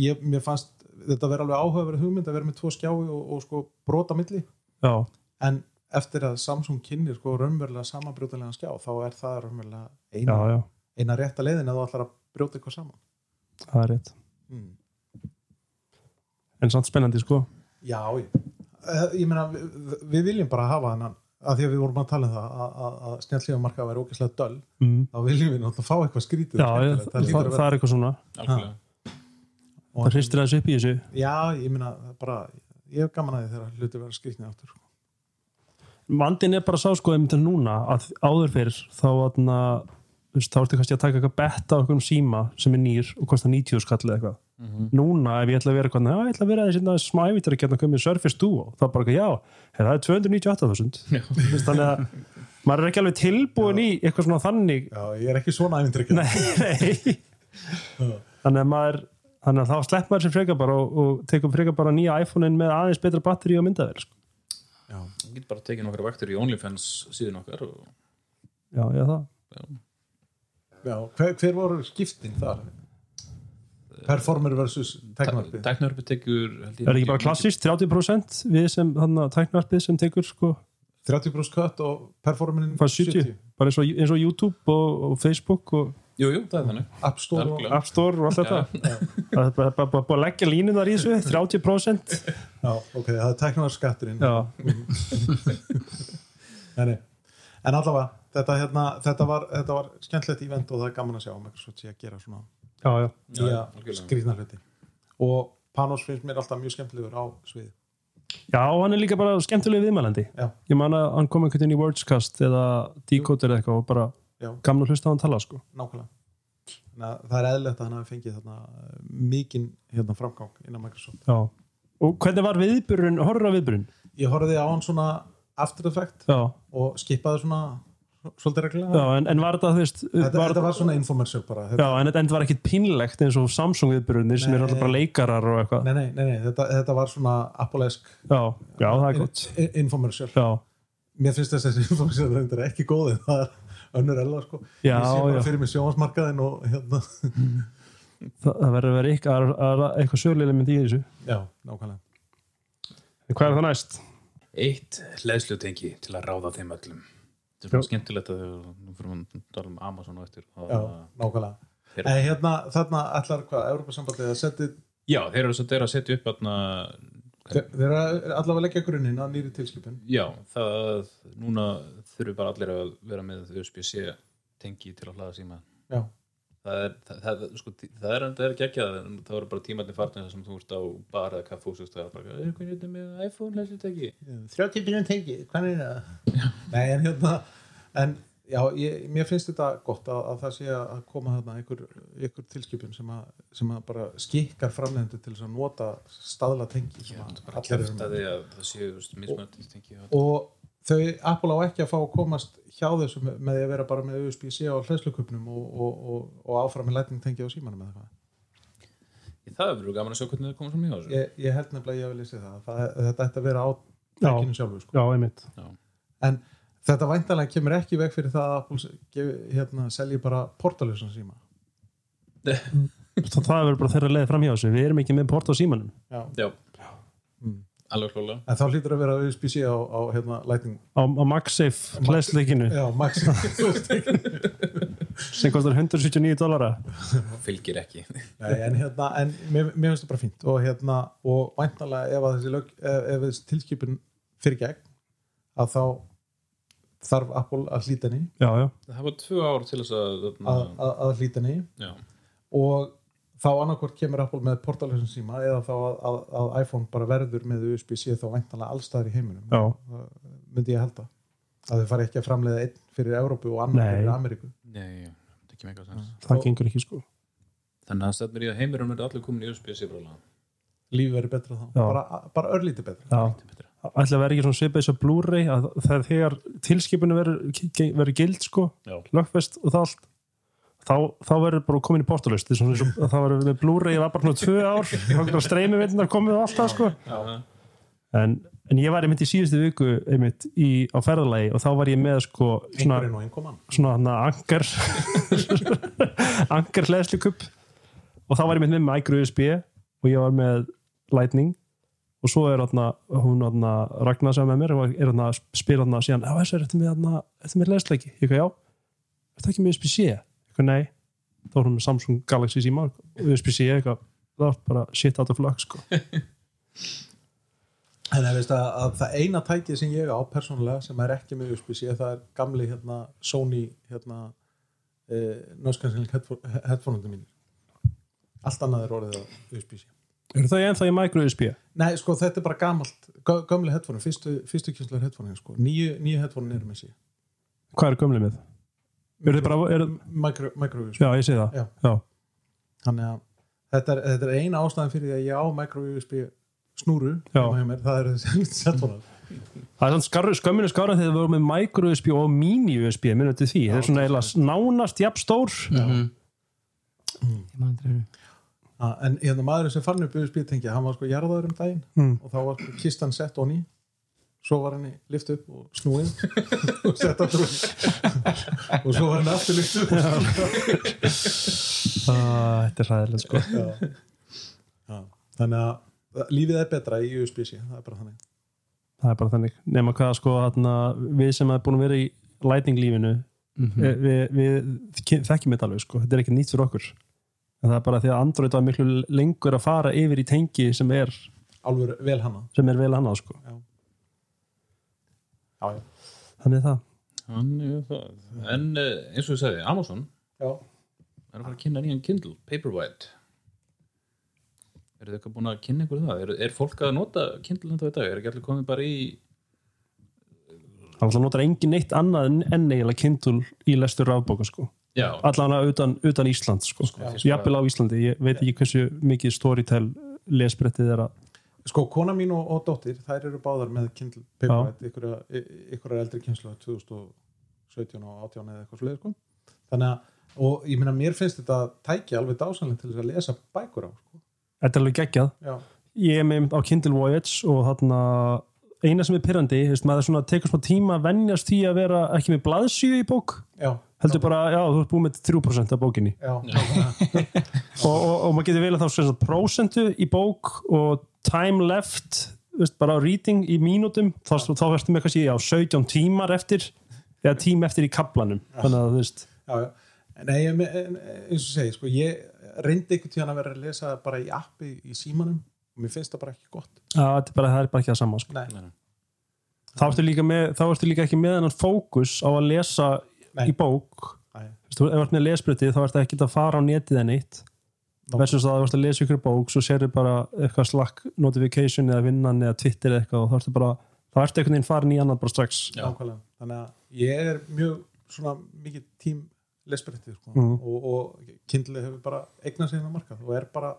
ég, mér fannst þetta verið alveg áhugaverð hugmynd að vera með tvo skjái og, og sko brota milli
já,
en eftir að Samsung kynni sko raunverulega samanbrjótanlega skjá þá er það raunverulega
já,
eina,
já,
eina rétta leiðin að þú ætlar að brjóta eitthvað saman
það er rétt
mm.
en samt spennandi sko
Já, ég, Eh, ég meina við, við viljum bara hafa þennan að því að við vorum að tala um það að, að, að snjallífamarka væri ógeðslega döl
mm.
þá viljum við náttúrulega fá eitthvað skrítið
já,
og
ég,
skemmtilegt.
það,
það
það,
lítur að vera
er eitthvað svona
algjörlega
það hristir aðeins upp í þessu
já, ég meina bara, ég hef gaman að því þegar hluti vera skrítnið áttur sko.
vandin er bara sá sko einmitt en núna að áður fyrir þá atna, veist, þá ertu kannski að taka eitthvað betta á einhverjum síma sem er nýr og kostar 90 skall eða eitthvað núna ef ég ætla að vera eitthvað, "Já, ég ætla að vera hérna þessi smævitar að geta komið Surface Duo þá bara eitthvað, já, hey, það er 298.000 Þú veist, þannig að maður er ekki alveg tilbúin í eitthvað svona þannig
já, ég er ekki svona ævindrykk
nei, nei. þannig að maður þannig að þá slepp maður sem frekar bara og, og tekum frekar bara nýja iPhone-in með aðeins betra batteri og myndavel sko.
Þú getur bara tekið nokkra vaktur í OnlyFans síðan okkar og
já, já, það
já, hver, hver voru skiptin þar performer versus tekmarpi
tæknarfi tekur held ég,
Er það ekki bara klassist, 30% við sem þannig að tæknarpið sem tekur sko,
30% kött og performerin
hvað 70, bara eins og, eins og YouTube og, og Facebook og
Jú, jú, það er þannig
App Store og,
Algjörlega.
App Store og allt þetta það er bara, bara, bara, bara að leggja línunar í þessu 30%
já, ok, það er tekmarpi skatturinn
já,
Nei, nei. En allavega, þetta, hérna, þetta, var, þetta var skemmtilegt event og það er gaman að sjá um eitthvað svo sé að gera svona
já, já,
nýja
algjörlega.
skrýtna hluti. Og Panos finnst mér alltaf mjög skemmtilegur á sviði.
já, hann er líka bara skemmtileg viðmælandi
Já.
ég man að hann kom einhvern veginn í Wordscast eða Decoder eða eitthvað og bara
Já.
gaman að hlusta á hann tala sko.
Nákvæmlega. Þannig að það er eðlilegt að hann hafi fengið þarna eh, mikinn hérna, framgang innan Microsoft.
já. og hvernig var viðburun, horra viðburun
Ég horfði á hann svona after effect
já,
og skipaði svona svolítið
já,
reglulega.
en, en var það þú veist
Þetta,
var,
þetta var svona informersu bara. Þetta,
já, en þetta var ekkit pínlegt eins og Samsung viðburunir sem
Nei.
eru alltaf bara leikarar og eitthvað
nei, nei, nei, nei, þetta, þetta var svona apólesk
já, já, það er gott
informersu.
já,
mér finnst þess að þessi fólk sem þetta er ekki góð en það er önnur ella sko
Já,
ég sé bara
já.
fyrir mig sjóhansmarkaðin og hérna
það, það verður að vera eitthvað, að- að- eitthvað sögulega í þessu
já, nákvæmlega
En hvað er það næst?
Eitt hleðslutengi til að ráða þeim öllum Þetta er bara skemmtilegt að nú fyrir að tala um Amazon og eftir Það-
já, nákvæmlega en hérna þarna allar hvað Evropasambandið að setja
já þeir eru svo þeir eru að setja upp atna,
þeir þeir eru að- allavega að leggja grunninn að nýri tilskipin
Já, það núna þurfi bara allir að vera með USB-C tengi til að hlaða síma
já,
Það er, það, það, sko, tí- það er, það er ekki ekki það, en það voru bara tímatni farnir þar sem þú ert á bar eða kaffu og það er bara, er hvernig þetta með iPhone hleðsluteki?
30% tengi, hvernig er það nei, en hérna en já, ég, mér finnst þetta gott að, að það sé að koma þarna einhver, einhver tilskipin sem að, sem að bara skikkar framlegendur til þess að nota staðla tengi sem að allir eru með.
Kæftæði að það séu þú veist, mismunandi tengi og
og þau Apple á ekki að fá að komast hjá þessu með með því að vera bara með USB-C á hlæslukupnum og, og, og, og áfram með lightning tengi á símanum eða hvað.
Það verður gaman að sjá hvernig það komur fram í þessu
Ég, ég held nefnilega að ég hef lýsið það. það þetta ætti að vera á
Já.
tekinu sjálfu sko.
Já, einmitt.
en þetta væntalega kemur ekki veg fyrir það að Apple se- gefi, hérna, selji bara portalösan síma
Það, það verður bara þeirra leið fram hjá þessu. Við erum ekki með port á símanum.
Já,
Mm.
alveg klálega
en þá hlýtur að vera USB-C á, á hérna, lightning
Á, á MagSafe hlæsleikinu.
já, Max
sem kostar 179 dollara
fylgir ekki
Nei, en hérna, en mér, mér finnst það bara fínt og hérna, og væntanlega ef að þessi lög, ef, ef þessi tilskipin fyrir gegn, að þá þarf Apple að hlýta henni
já, já,
það var tvö ár til þess að,
að,
að,
að, að hlýta henni
já,
og þá annarkvort kemur Apple með portalösun síma eða þá að, að, að iPhone bara verður með USB-C þá væntanlega allstaðar í heiminum
já,
myndi ég halda að þau fari ekki að framleiða einn fyrir Evrópu og annar
Nei.
fyrir Ameríku
nei, ekki mega
Mm.
sens
það gengur ekki sko
þannig að stefnir í að heimurum er allir komin í USB-C brála
lífi verið betra þá,
Já.
bara, bara örlítið betra
já, ætla að vera ekki svona svipað þessu Blu-ray að það er þegar tilskipinu verður verður gild sko,
Já.
lögfest og það allt þá, þá verður bara komin í portalust þá verður við með Blu-ray var bara svona tvö ár þá er bara streymi veitnar komið og allt það sko
já,
en, en ég var einmitt í síðustu viku einmitt í, á ferðalagi og þá var ég með sko svona,
einhverjum og einhverjum
svona hann angar angar hlæðslukupp og þá var ég með með micro USB og ég var með lightning og svo er hann hún hann Ragnar sem er með mér og er hann að spila hann síðan, já þessu er þetta með hann þetta með hlæðsleiki, ég hvað já þetta ekki með USB-C, ég hvað nei þá var hún með Samsung Galaxy síma USB-C, ég hvað, það var bara shit out of luck sko,
En það veist að, að það eina tækið sem ég á persónulega sem er ekki með USB-C það er gamli hérna Sony hérna e, nöskansinlega headphoneundu mínir. Allt annað er orðið á USB-C.
eru þau ennþá í micro USB
Nei, sko þetta er bara gamalt, gö- gömli headphone, fyrstu, fyrstu kynslar headphone, sko. Nýju, nýju headphone eru með sí.
hvað er gömlið með? Eru þið bara, eru,
Micro, micro USB.
já ég sé það
Já.
já,
Þannig að þetta er, þetta er eina ástæðan fyrir því að ég á micro USB snúru,
Já. Mm.
heima hjá mér, það eru þessi headphone.
Það er svona skarru, skömminu skára þegar við vorum með micro USB og mini USB, minnum til því. það er svona eiginlega nánast jafn stór.
Mhm. Ég man aldrei eru.
Ha, en hérna maðurinn sem fann upp USB-tengja, hann var sko jarðaður um daginn
Mm.
og þá var sko kistan sett onni svo var henni lift upp og snúið og sett aftur onni. og svo var henni aftur lift upp og snúið.
Ah, Þetta er ræðilegt sko.
Já. Já. þannig að lífið er betra í USB-C það er bara þannig
Það er bara þannig. Nefna hvað sko, þarna, við sem er búin að vera í lightning lífinu, við, við ke- þekkjum þetta alveg sko. Þetta er ekki nýtt fyrir okkur. En það er bara því að Android var miklu lengur að fara yfir í tengi sem er,
alveg vel hanna
sem er vel annað sko.
já, já.
Þannig er það.
þannig er það en eh, eins og ég sagði, Amazon
Já.
er að fara að kynna nýjan Kindle, Paperwhite eru þau eitthvað búin að kynna ykkur um það? Er, er fólk að nota Kindle þetta í dag? Er ekki allir komið bara í
Það er alltaf notar engin neitt annað en- en eiginlega kindul í lestur rafbóka sko.
já,
allan utan, utan Ísland sko. jafnvel á Íslandi, ég veit ekki hversu mikið storytel lesbrettið er að
sko, kona mín og, og dóttir, þær eru báðar með Kindle Paperwhite, ykkurra- y- ykkurra eldri kynslu 2017 og 18 eða eitthvað svolítið sko. þannig að, og ég meina, mér finnst þetta tæki alveg dásanlega til þess að lesa bækur á sko.
þetta er alveg geggjað,
já,
ég er með á Kindle Voyage og þarna eina sem er pyrrandi, veist, maður svona tekur smá tíma að venjast því að vera ekki með blaðsíu í bók,
já,
heldur bara já, þú ert búið með 3% af bókinni
já,
og, og, og maður getur velið þá sem sagt prósentu í bók og time left veist, bara á reading í mínútum þá, þá verðstu með kannski á 17 tímar eftir eða tíma eftir í kaplanum þannig að þú veist,
já, já. Nei, ég, me- en, eins og segi, sko, ég reyndi einhvern tíðan að vera að lesa bara í appi í símanum og mér finnst það bara ekki gott
að þetta er bara, það er bara ekki það sama sko.
Nei,
þá ertu líka, með, þá ertu líka ekki með hennan fókus á að lesa
Nei.
í bók
Nei.
Vistu, ef þú ert með lesbrytið þá ertu ekki að fara á netið en eitt
Nó.
versus að þú ert að lesa ykkur bók svo sérðu bara eitthvað slack notification eða vinnan eða twitter eða eitthvað og þá ertu bara þá ertu einhvern veginn farin í annað bara strax
Já.
nákvæmlega þannig að ég er mjög svona mikið tím lesbrettið sko.
Mhm.
og, og kindli hefur bara eignað sér hennar markað og er bara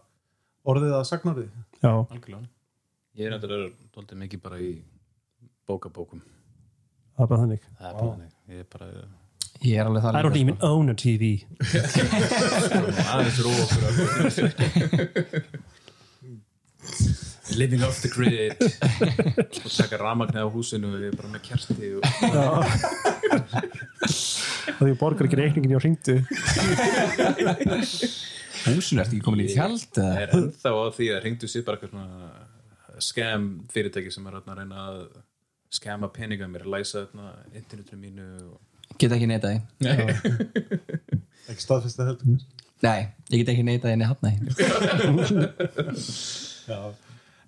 orðið að sagnarið
já,
algjörlega ég er náttúrulega doldið mikið bara í bókabókum
það er bara þannig
það er bara þannig, ég er bara
Ég er alveg það
I don't even own a TV
aðeins rú okkur living off the grid og taka ramagnið á húsinu og ég er bara með kerti og
og því borgar ekki reikningin hjá hringdu
Húsinu sko. ertu ekki komin í tjald eða?
er ennþá á því að ringdu sér bara eitthvað svona skam fyrirtæki sem er þarna að reyna að skama peninga mér, læsa þarna internetinu mínu og...
Geta ekki neitað því
Nei.
ekki staðfest að heldur
Nei, ég get ekki neitað henni hafna henni
Já.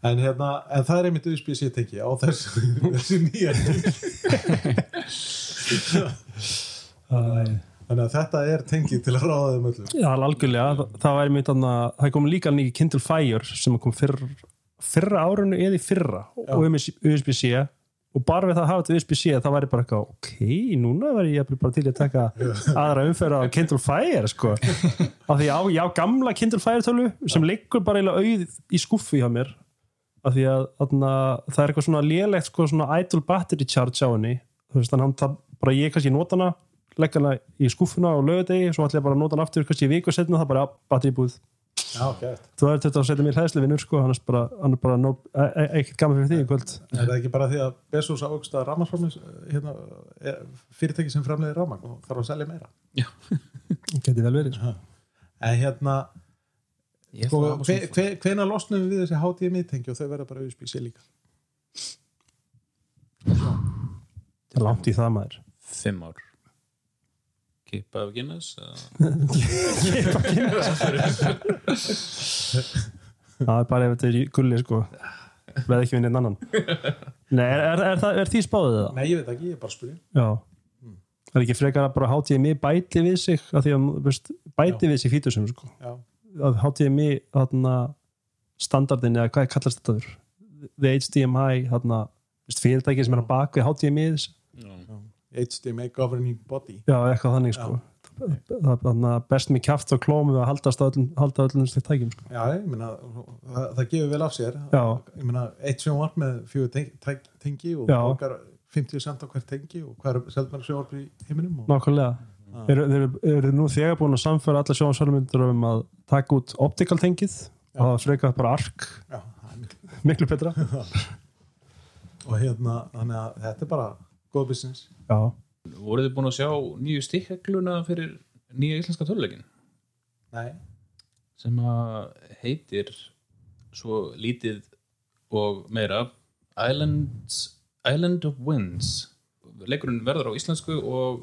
en hérna, en það er einmitt USB sem ég teki á þessu, þessu nýja
Það
þannig að þetta er tengi til að ráða þeim öllum
er algjörlega, það- það væri mitt annað, það kom líka nýja Kindle Fire sem kom fyrr, fyrra árunni eða í fyrra og USB-C og bara við það að hafa þetta USB-C það væri bara eitthvað, ok, núna væri ég jafnvel bara til í að taka aðra umferða á Kindle Fire, sko af því að ég á gamla Kindle Fire tölu sem liggur bara eiginlega auð í skuffi hjá mér af því að atna, það er eitthvað svona lélegt sko, svona idle battery charge á henni þú veist, þannig hann það, bara ég kannski nota hana legg hana í skuffuna á lögadegi svo ætla ég bara að nota hana aftur kannski í viku setna það bara ja, battery búið
Já, gæt.
þú er þetta að setja mér hlæðslu vinnur sko hann er bara, hann er bara no, e e ekkert gaman fyrir því í kvöld
er það ekki bara því að Bezos ávöxt að rafmagnsframleys hérna, eh, fyrirtæki sem framleiði rafmagn og þarf að selja meira
geti vel verið sko.
en hérna,
Ég
sko,
ætla að hafa
hve-
svona-
hve- hvenær losnum við þessi HDMI tengi og þau verða bara USB-C líka
það er langt í það maður
Fimm ár Kipa af Guinness eða-
það er bara ef þetta er í gulli sko veð ekki við neinn annan Nei, er, er, er, það- er því spáðið það?
nei, ég veit ekki, ég er bara að spyrja
Já Það er ekki frekar að bara HTMI bæti við sig að því að þú veist, bæti við sig fítusum sko.
Já.
að HTMI þarna, standardin eða hvað er kallast þetta þurr the HDMI þarna, þú veist, fyrirtæki sem er að baka við HDMI -ið,
HDMI governing body
já eitthvað þannig sko. það er þarna, best með kjaft og klóm við að haldast á öllum, halda öllum þessu tækjum sko.
Já, ég meina, það, það gefur vel af sér
Já.
ég meina, eitt sjónvarp með fjögur tengi, tæk- tengi og
Já.
okkar 50 cent á hver tengi og hver seldunar sjónvarp í heiminum og,
nákvæmlega eru þeir eru nú þegar búin að samfæra alla sjónvarsölmyndur um að taka út optical tengið og það frekar bara ark
já, það er mikil-
miklu betra
og hérna, þannig að þetta er bara góð business
já
Voruð þið búin að sjá nýju stikkegluna fyrir nýja íslenska töluleikin
Nei,
sem að heitir svo lítið og meira Island, Island of Winds leikurinn verður á íslensku og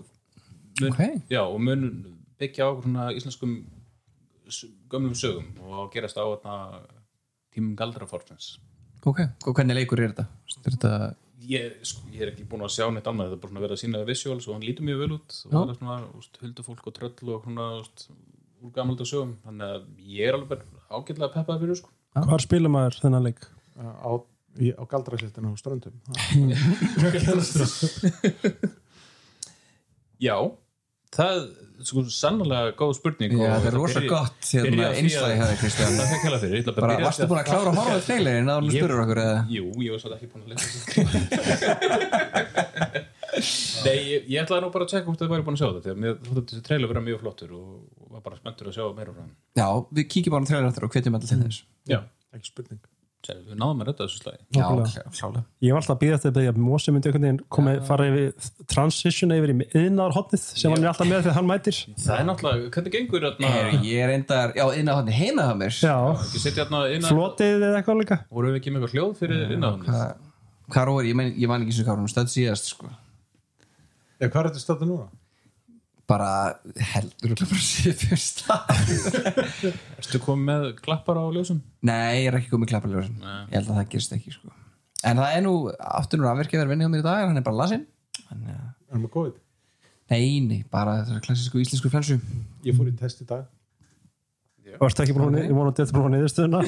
mun,
Ok.
já, og mun byggja á svona íslenskum s- gömlum sögum og gerast á þarna tímum galdraforfins
Ok, og hvernig leikur er þetta? Er þetta
ég, sko, ég er ekki búin að sjá neitt annað þetta er bara svona verið að sína visuals og hann lítur mjög vel út og
Já.
það er svona úst, huldufólk og tröll og svona úst, úr gamalda sögum þannig að ég er alveg bara ágætlega peppað fyrir sko.
Hvar spilum maður þennan leik?
á, í- á galdraslettinu og ströndum
já, það sko sannlega góð spurning
Já,
og
þetta er
það
rosa
byrja-
gott
byrja
hérna
á því
einslæði
að-
hefði Kristján
það fekk hella fyrir, ég ætla bara
Bara,
að byrja á því
varstu
að-
búin að klára að horfa á trailerin að þú
Ég-
spurur okkur eða?
Jú, ég var svolítið ekki búin að lesa þessu. Nei, ég, ég ætlaði nú bara að tjekka hvort þið væri búin að sjá þetta því að mér þótti þessi trailer vera mjög flottur og var bara spenntur að sjá meira frá hann
Já, við kíkjum á hann trailerin aftur og hvetjum alltaf til þess
Já,
ekki spurning
Sér, við náðum að redda þessu slagi
Já,
Nákvæmlega.
klá- klálega
Ég var alltaf að býða eftir að beðja Mósi myndi einhvern veginn komið fara yfir transition yfir í yðnarhotnið sem hann er alltaf með þegar hann mætir
Það er náttúrulega, hvernig gengur þarna
Heyrðu, Ég er endar, já, inn á hann heina það mér
Já,
Ekki setja þarna inn að
flotið eða eitthvað líka
voru við ekki með eitthvað hljóð fyrir inn að hann
Hvað- Hvað róður, ég, meina- ég man ekki sem hvað hún stödd síðast sko.
Já, hvað er þetta stöldu núna?
Bara heldur örugglega bara síðan stað
Ertu komið með klappar á ljósum?
Nei, ég er ekki komið klapparljóður Ég held að það gerist ekki sko. En það er nú, aftur nú afvirkja verið vinni á mér í dag en Hann er bara lasinn Hann, ja.
Erum við COVID?
Nei, nei, bara þessar klassísku íslensku flensu
Ég fór í test í dag
Varst ekki búin að vonandi eftir búin að niðurstöðuna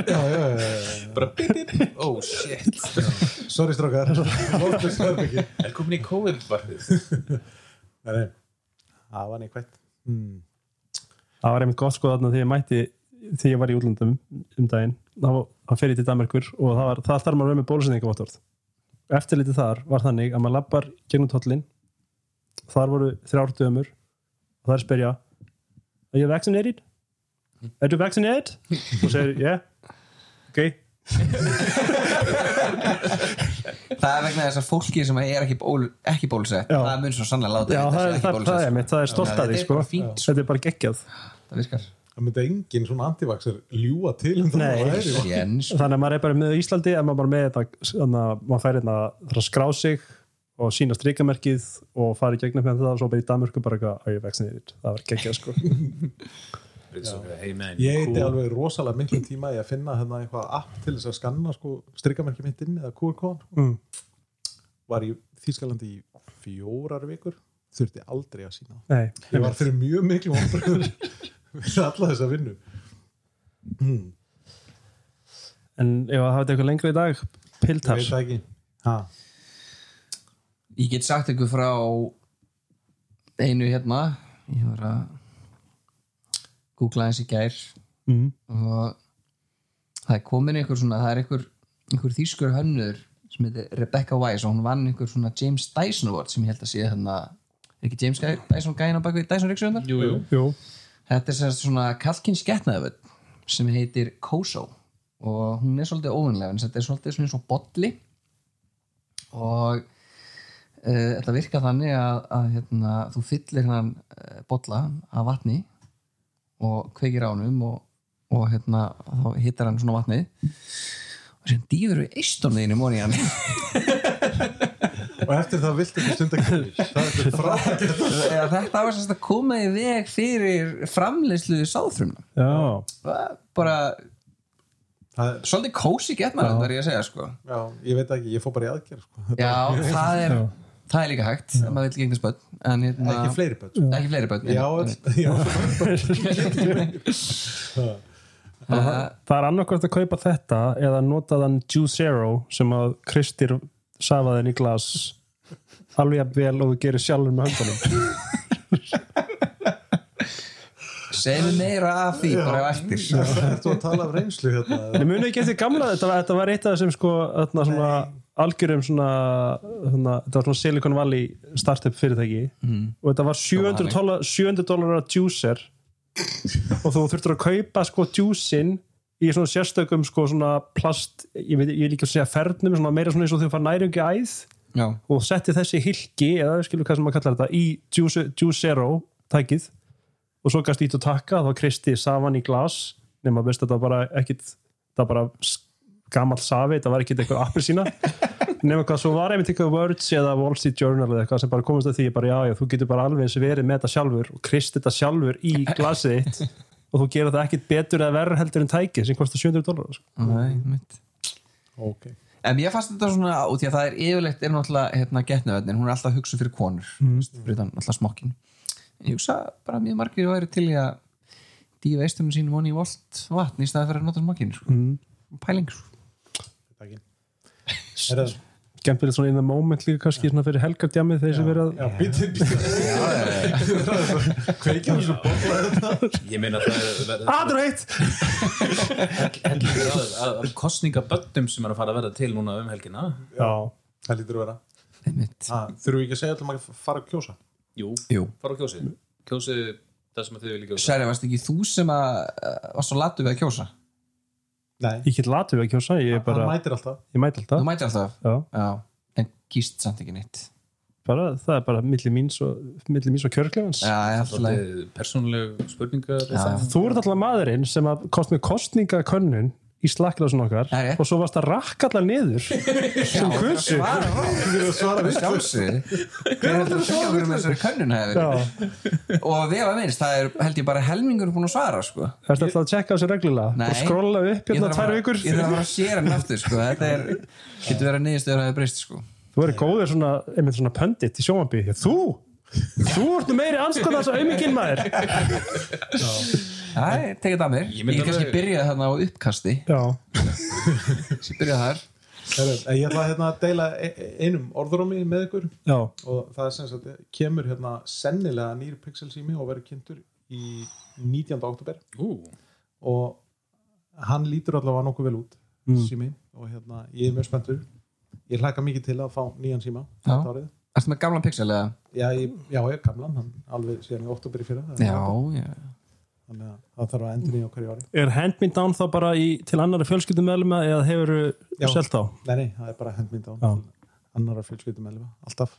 Já, já, já, já,
Bara bip bip Oh shit
já. Sorry strókar Loftlust herbyggi
Er komin í COVID-varpið
Nei, nei Það var neikvætt mm.
Það var einmitt gott sko þarna þegar ég mætti þegar ég var í útlöndum um daginn þá hann fer ég til Danmarkur og það var það þarf maður að vera með bólusendingavottorð Eftirlitið þar var þannig að maður lappar gegnum tóllin þar voru þrjár dömur og þar spyrja Are you vaccinated?
Hmm.
Are you vaccinated? og segir yeah ok
Það er vegna þessar fólki sem er ekki, ból, ekki bólusett
Já.
Það mun svo sannlega láta
Já,
þetta
það
sé
er,
ekki
það, er-
bólusett,
það er
sko.
mitt, það er stolt
Já,
að því
þetta er
sko.
bara fínt, sko.
Þetta er bara geggjað.
Það virkar
Það myndi engin svona antivaxar ljúa til um það
Nei.
að væri vaksin.
Jens
Þannig að maður er bara með á Íslandi en maður bara með þetta, þannig að maður fær hérna þarf að skrá sig og sína strikamerkið og fara í gegnum með það og svo bara í Danmörku bara eitthvað að ég vekst niður, það var geggjað sko
It's okay, hey man,
Ég heiti
cool.
alveg rosalega miklu tíma í að finna hérna eitthvað app til þess að skanna sko, strikamerki mitt inn eða QR-kóðan sko.
Mm.
Var í Þýskalandi í fjórar vikur þurfti aldrei að sína það.
Nei,
Ég var fyrir mjög miklu vonbröður við alla þessa vinnu
en ef að hafa þetta eitthvað lengra í dag
Ég veit
Piltars,
það ekki ha.
Ég get sagt ykkur frá einu hérna Ég var að googla eins í gær
mm,
og það er komin einhver svona, það er einhver, einhver þýskur hönnur sem heitir Rebecca Wise og hún vann einhver svona James Dyson Award sem ég held að sé hérna er ekki James Guy- Dyson gæna bak við Dyson Ríksjöndar?
Jú, jú,
jú,
Þetta er sem sagt svona kalkins getnaðið sem heitir Koso og hún er svolítið óvinnlega en þetta er svolítið svona eins og bolli og uh, þetta virkar þannig að, að hérna, þú fyllir hennan uh, bolla af vatni og kveikir ánum og, og hérna, þá hittar hann svona vatnið og sem dýfur við eistónleginu móni hann
Og eftir það viltu ekki stunda kynlíf. Það er þetta frábært
Eða þetta var sérst að koma í veg fyrir framleiðslu sáðfrumna
já
bara
Það er-
svolítið kósi gett maður þetta er ég að segja sko
Já, ég veit ekki, ég fór bara í aðgerð sko. Þetta
já, það er,
Já.
það er líka hægt ef maður vil gegnast börn en
er
hérna,
ekki fleiri börn sko.
ekki fleiri börn
Já, öll- já,
Eh,
Það er annarkvæmt að kaupa þetta eða nota þann Juice Zero sem að Kristir safaði inn í glas alveg að vel og þú gerir sjálfur með höndunum
segjum meira af því bara á eftir
það er þú að tala af reynslu hérna eða?
En ég muni ekki eftir gamla þetta var, þetta var eitt af þessum sko þarna svona algjörum svona, svona þetta var svona Silicon Valley startup fyrirtæki og þetta var 700, dolla, 700 dólarar juicer og þú þurftur að kaupa sko juicin í svona sérstökum sko svona plast ég veit ég er líka að segja fernum svona meira svona eins og þau fara næringi æð
já,
og setti þessi hilki eða skilur hvað sem maður kallar þetta í Juice Juice Zero tækið og svo gast ít og takka þá kristi safann í glas nema veist þetta var bara ekkit það var bara s- gamall safi þetta var ekkit eitthvað appur sína nema hvað svo var einmitt eitthvað Words eða Wall Street Journal eða eitthvað sem bara komast að því bara já já þú getur bara alveg eins verið með þetta sjálfur og kristi þetta sjálfur í glasið þitt og þú gerir það ekkit betur eða verra heldur en tækið sem kostar 700 dólar sko.
nei, mitt
Ok.
En ég fannst þetta svona út því að það er yfirleitt er náttúrulega hérna, getnaverðin, hún er alltaf hugsuð fyrir konur mm. fyrir þannig alltaf smokkin Ég hugsa bara að mjög margir væri til í að dýfa eistunum sínum voni í volt vatn í staði fyrir að nota smokkin sko. mm. Pæling sko.
Er það-
Gæmt verið svona in the moment líka kannski svona fyrir helgardjamið þeir sem verið að
Já, býtti, býtti Kveikja þessu bolla þetta
ég meina það er það- það-
Adreitt!
það er- það er kostningaböndum sem er að fara að verða til núna um helgina
Já,
Það lítur að vera
Einmitt.
Ha, Þurfum við ekki að segja allum að fara að kjósa
Jú,
Jú.
fara á kjósið Kjósið það sem að þið viljið kjósa
Særi, varst ekki þú sem að uh, varst svo latu við að kjósa?
Nei,
ég get latur við að kjósa ég, er bara,
hann mætir alltaf
ég mæti
Þú
alltaf
mætir alltaf
já,
Já, en kýst samt ekki neitt
bara, það er bara milli mín svo, milli mín svo kjörklefans
Já, ég alltaf leið
Persónuleg spurninga
Já.
þú ert alltaf maðurinn sem að kost með kostningakönnun í slakklasun okkar
Það er rétt.
og svo varst að rakka allar niður sem kursu
Svara rátt,
Þú verður að svara við
sjálfsögð Hver heldur að segja okkur um þessari könnun hefur
Já,
Og við að minnst, það er held ég bara helmingur búin að svara sko
það er alltaf að tjekka þessu reglulega
Nei.
og skrolla upp
Ég
hérna
þarf að
tvær
fara-
vikur
Ég þarf að fara að sér hann aftur sko Þetta er, getur verið að niðurstöður að það er breyst sko
þú verður góður svona, einmitt svona pöndit í sjómanbíð þú, þú ert nú meiri anskoðan þessu auðmikinn maður
Æ, tekið það að mér
Ég
Ég,
myndi
ég kannski
alveg-
byrjaði þarna á uppkasti
Já,
Ég byrjaði þar
Herru, Ég ætla að hérna, að deila e- e- einum orðrómi með ykkur
já,
og það er sem sagt, kemur hérna sennilega nýr pixel sími og verður kynntur í 19. oktober
Ú,
og hann lítur allavega nokkuð vel út
Mm.
sími og hérna, ég er mjög spenntur ég hlaka mikið til að fá nýjan síma þetta
Já.
árið
Ertu með gamlan pixel eða?
já, ég, já, ég er gamlan, hann alveg síðan í oktober í fyrra það er-
Já, já
þannig að það þarf að endur nýja hverju ári
er hand me down þá bara í, til annara fjölskyldum meðlum eða hefur
Já.
selt á?
nei, nei, það er bara hendmynd á
Já.
annara fjölskyldum elfa, alltaf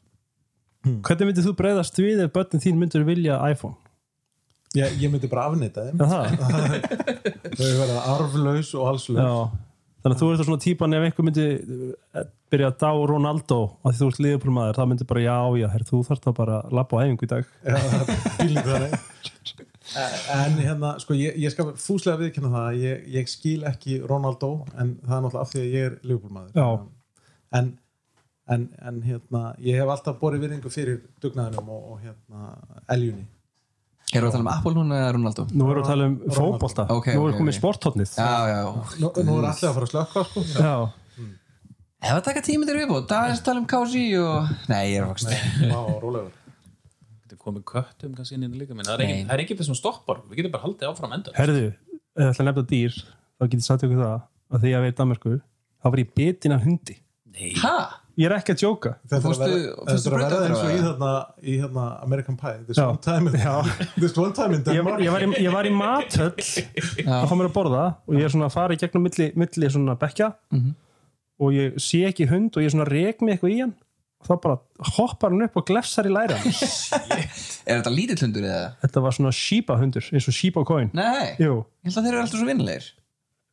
Hvernig myndir þú breyðast við ef börnin þín myndir vilja iPhone?
ég, ég myndi bara afnýta þeim
Er það?
þau verða arflaus og halslaus
Já. þannig að þú ert svona típan ef einhver myndi eh, byrja að dá Ronaldo að þú ert liðbúrmaður, þá myndi bara já, já, herr, þú þarft að bara labba á æfingu í dag
Já, það er fíling þannig. en hérna, sko, ég, ég skal fúslega viðkynna það að ég, ég skil ekki Ronaldo, en það er náttúrulega af því að ég er
Já.
lögbúrmaður en, en, en hérna ég hef alltaf borið virðingu fyrir dugnaðinum og, og hérna, eljunni
Erum við að tala um Apple núna eða Ronaldo?
nú erum við að tala um fótbolta
Ok,
nú
ok,
erum við komið
ok.
okay. sporthotnið
Já, já,
nú, nú er allir að fara að slökka, sko
já,
Ef að taka tíma til viðbúð, það er að tala um KG og... Nei, ég er að fakst
Vá, rólegur
Þetta er komið köttum kannski inn í þetta líka minn. Það er
Nei.
ekki- það er ekki þessum stoppar. Við getum bara haldið áfram enda.
herðu ef ég ætla að nefna dýr, þá getið sagt ykkur það að þegar ég verið í Danmarku, þá var ég bitin af hundi,
Nei,
Hæ?
ég er ekki að djóka
Þetta er að
Fórstu-
verða-
fórstu
þetta er að verða
brautarþjálfari?
eins og í, þarna, í hérna, American Pie This
Já.
one time in, this one time in
ég var,
Denmark
ég var, í, ég var í matöll að fá mér að borða og ég er svona að fara í gegnum milli, milli svona bekja og ég sé ekki hund og ég svona rek mig eitthvað í hann og þá bara hoppar hann upp og glefsar í læra hans.
Er þetta lítill hundur eða?
þetta var svona sípa hundur eins og sípa coin
Nei, ég
jú,
held að þeir eru alltaf svo vinnilegir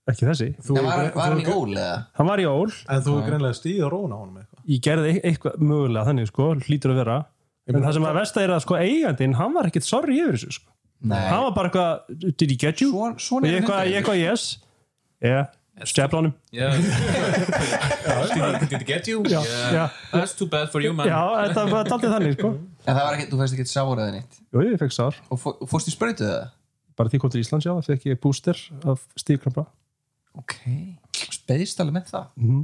ekki þessi
Þú
En var,
er-
var hann í
þú er-
ól eða?
hann var í ól,
En þú er greinlega stíð og róna á honum eitthvað
ég gerði eit- eitthvað mögulega þannig sko, hlýtur að vera en það sem að versta er að sko eigandinn hann var ekkit sorry yfir þessu sko hann var bara eitthvað, did he get you?
Svona-
og
svona
ég
eru
eitthvað,
hundar.
ég eitthvað yes yeah, stefla honum
Já Did it get you?
Já, já.
That's too bad for you man
já, þetta var daldið þannig sko
En það var ekki, þú fæst ekki sár eða neitt
jú, ég fekk sár
Og fó- og fórst í sprautu eða?
bara því kom til Íslands, já, það fekk ég booster af stífkrampa
Ok, spæðist alveg með það
Mhm.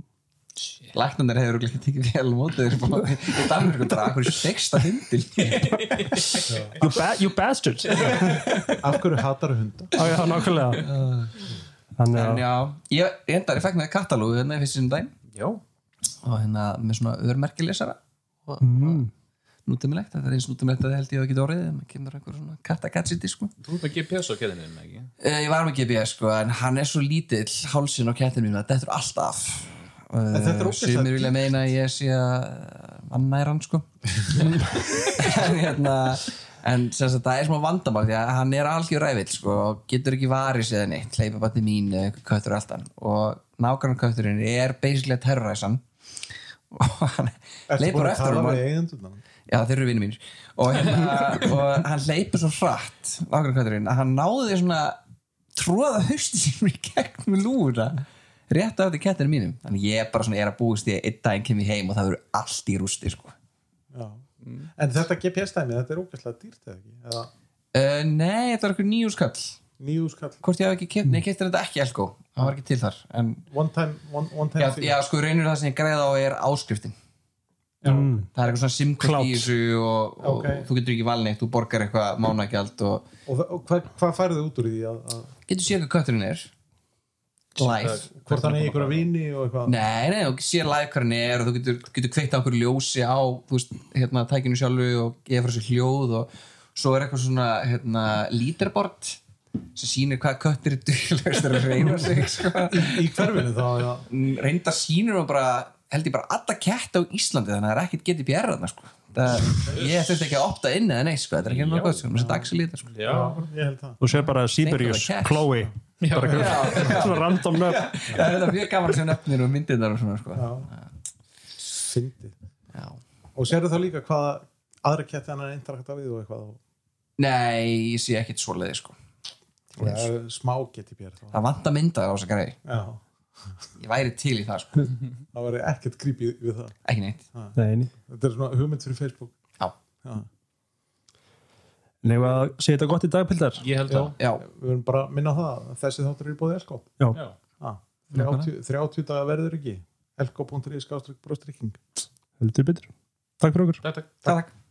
Læknandir hefur örugglega ekki tekið vel á móti þér bara- Í Danmark og drakur í sexta hundil
you, ba you bastard já,
Af hverju hatar hunda?
já, nákvæmlega
En
þannig að,
já, ég, ég endar, ég fekk með katalógu hérna í fyrst sinni dæn
Já
og hérna með svona örmerkilesara og
Mhm.
mm. nútumilegt, þetta er eins nútumilegt að það held ég að geta orðið en maður kemur einhver svona katakatsi sko.
Þú ert með GPS á keðinu þinn, ekki?
Eh, Ég var með GPS sko, en hann er svo lítill hálsin á kettin mín að þetta er alltaf
En þetta er ógeðslega
Eh, Sumir vilja meina að ég sé að manna er hann sko En hérna En sem sagt, það er smá vandamál því að hann er algjör rævill sko og getur ekki varið sér neitt, hleypa bara til mín eða einhver köttur alltaf og nákvæmlega kötturinn er basically að terroræsa hann og hann leipur
að
eftir
tala
honum og-
við eigendurna?
Já, þeir eru vinnir mínir og, hérna, og hann leipur svo hratt nágrannkötturinn að hann náði því svona tróða haustinum í gegnum lúra rétt á þetta kettinu mínum þannig ég bara svona er að búist því að einn daginn kem ég heim og það verður allt í rústi sko.
Já.
Mm.
En þetta GPS-dæmi, þetta er ógæslega dýrt eða ekki? Eða
uh, Nei, þetta var eitthvað nýjúskall
nýjúskall,
Hvort ég hef ekki kept, nei, keftir þetta ekki elko það var ekki til þar en,
one time, one, one time
já,
fee.
já, sko, reynir það sem ég græða á er áskriftin
mm,
það er eitthvað svona simkvæmt
Cloud.
í þessu og, og
Ok.
þú getur ekki valin eitt, þú borgar eitthvað mánagjald og
Og, þa- og hvað hva færðu út úr því? Að, að,
getur séð hvað kötturinn er live
hvort hann eigi ykkur að vini og eitthvað?
Nei, nei, og sér live hvað hann er og þú getur, getur kveikt á okkur ljósi á þú veist, hérna, tækinu sjálfu og gefa frá sér hljóð og svo er eitthvað svona hérna, leaderboard sem sýnir hvað köttir er duglegast að reyna sig sko.
Í hverfinu þá, já.
reynda sýnir og bara held ég bara alla kett á Íslandi þannig að það er ekkert getið bjerra þarna sko. það, ég þurfti ekki að opta inn eða nei sko. þetta er ekki nokkuð sko. maður setja axil í þetta sko.
já. Ég held það.
þú sér bara Sibirius,
Nei, það var kæft.
Chloe bara
já.
svona random nöfn
það er þetta mjög gaman sem nefnir og myndir þar og svona sko.
Fyndið.
Já.
Og sérðu þá líka hvaða aðra ketti hann er interakta við og eitthvað? Og,
nei, ég sé ekkert svoleiði sko.
ja, smá GTPR þá.
það vanta myndar á þessa grei
Já.
ég væri til í það sko.
Það væri ekkert creepy við það.
ekki neitt
nei, nei.
Þetta er svona hugmynd fyrir Facebook.
já,
Já.
nei, að segja þetta gott í dag, Pildar
Ég held að
já,
Við verum bara að minna á það. að Þessi þáttur er í sko. bóði Elko.
já,
Já.
Ah, 30, 30 dagar verður ekki. Elko.is skástrík brostrykking.
heldur betur takk fyrir okkur
Takk, takk
takk, takk.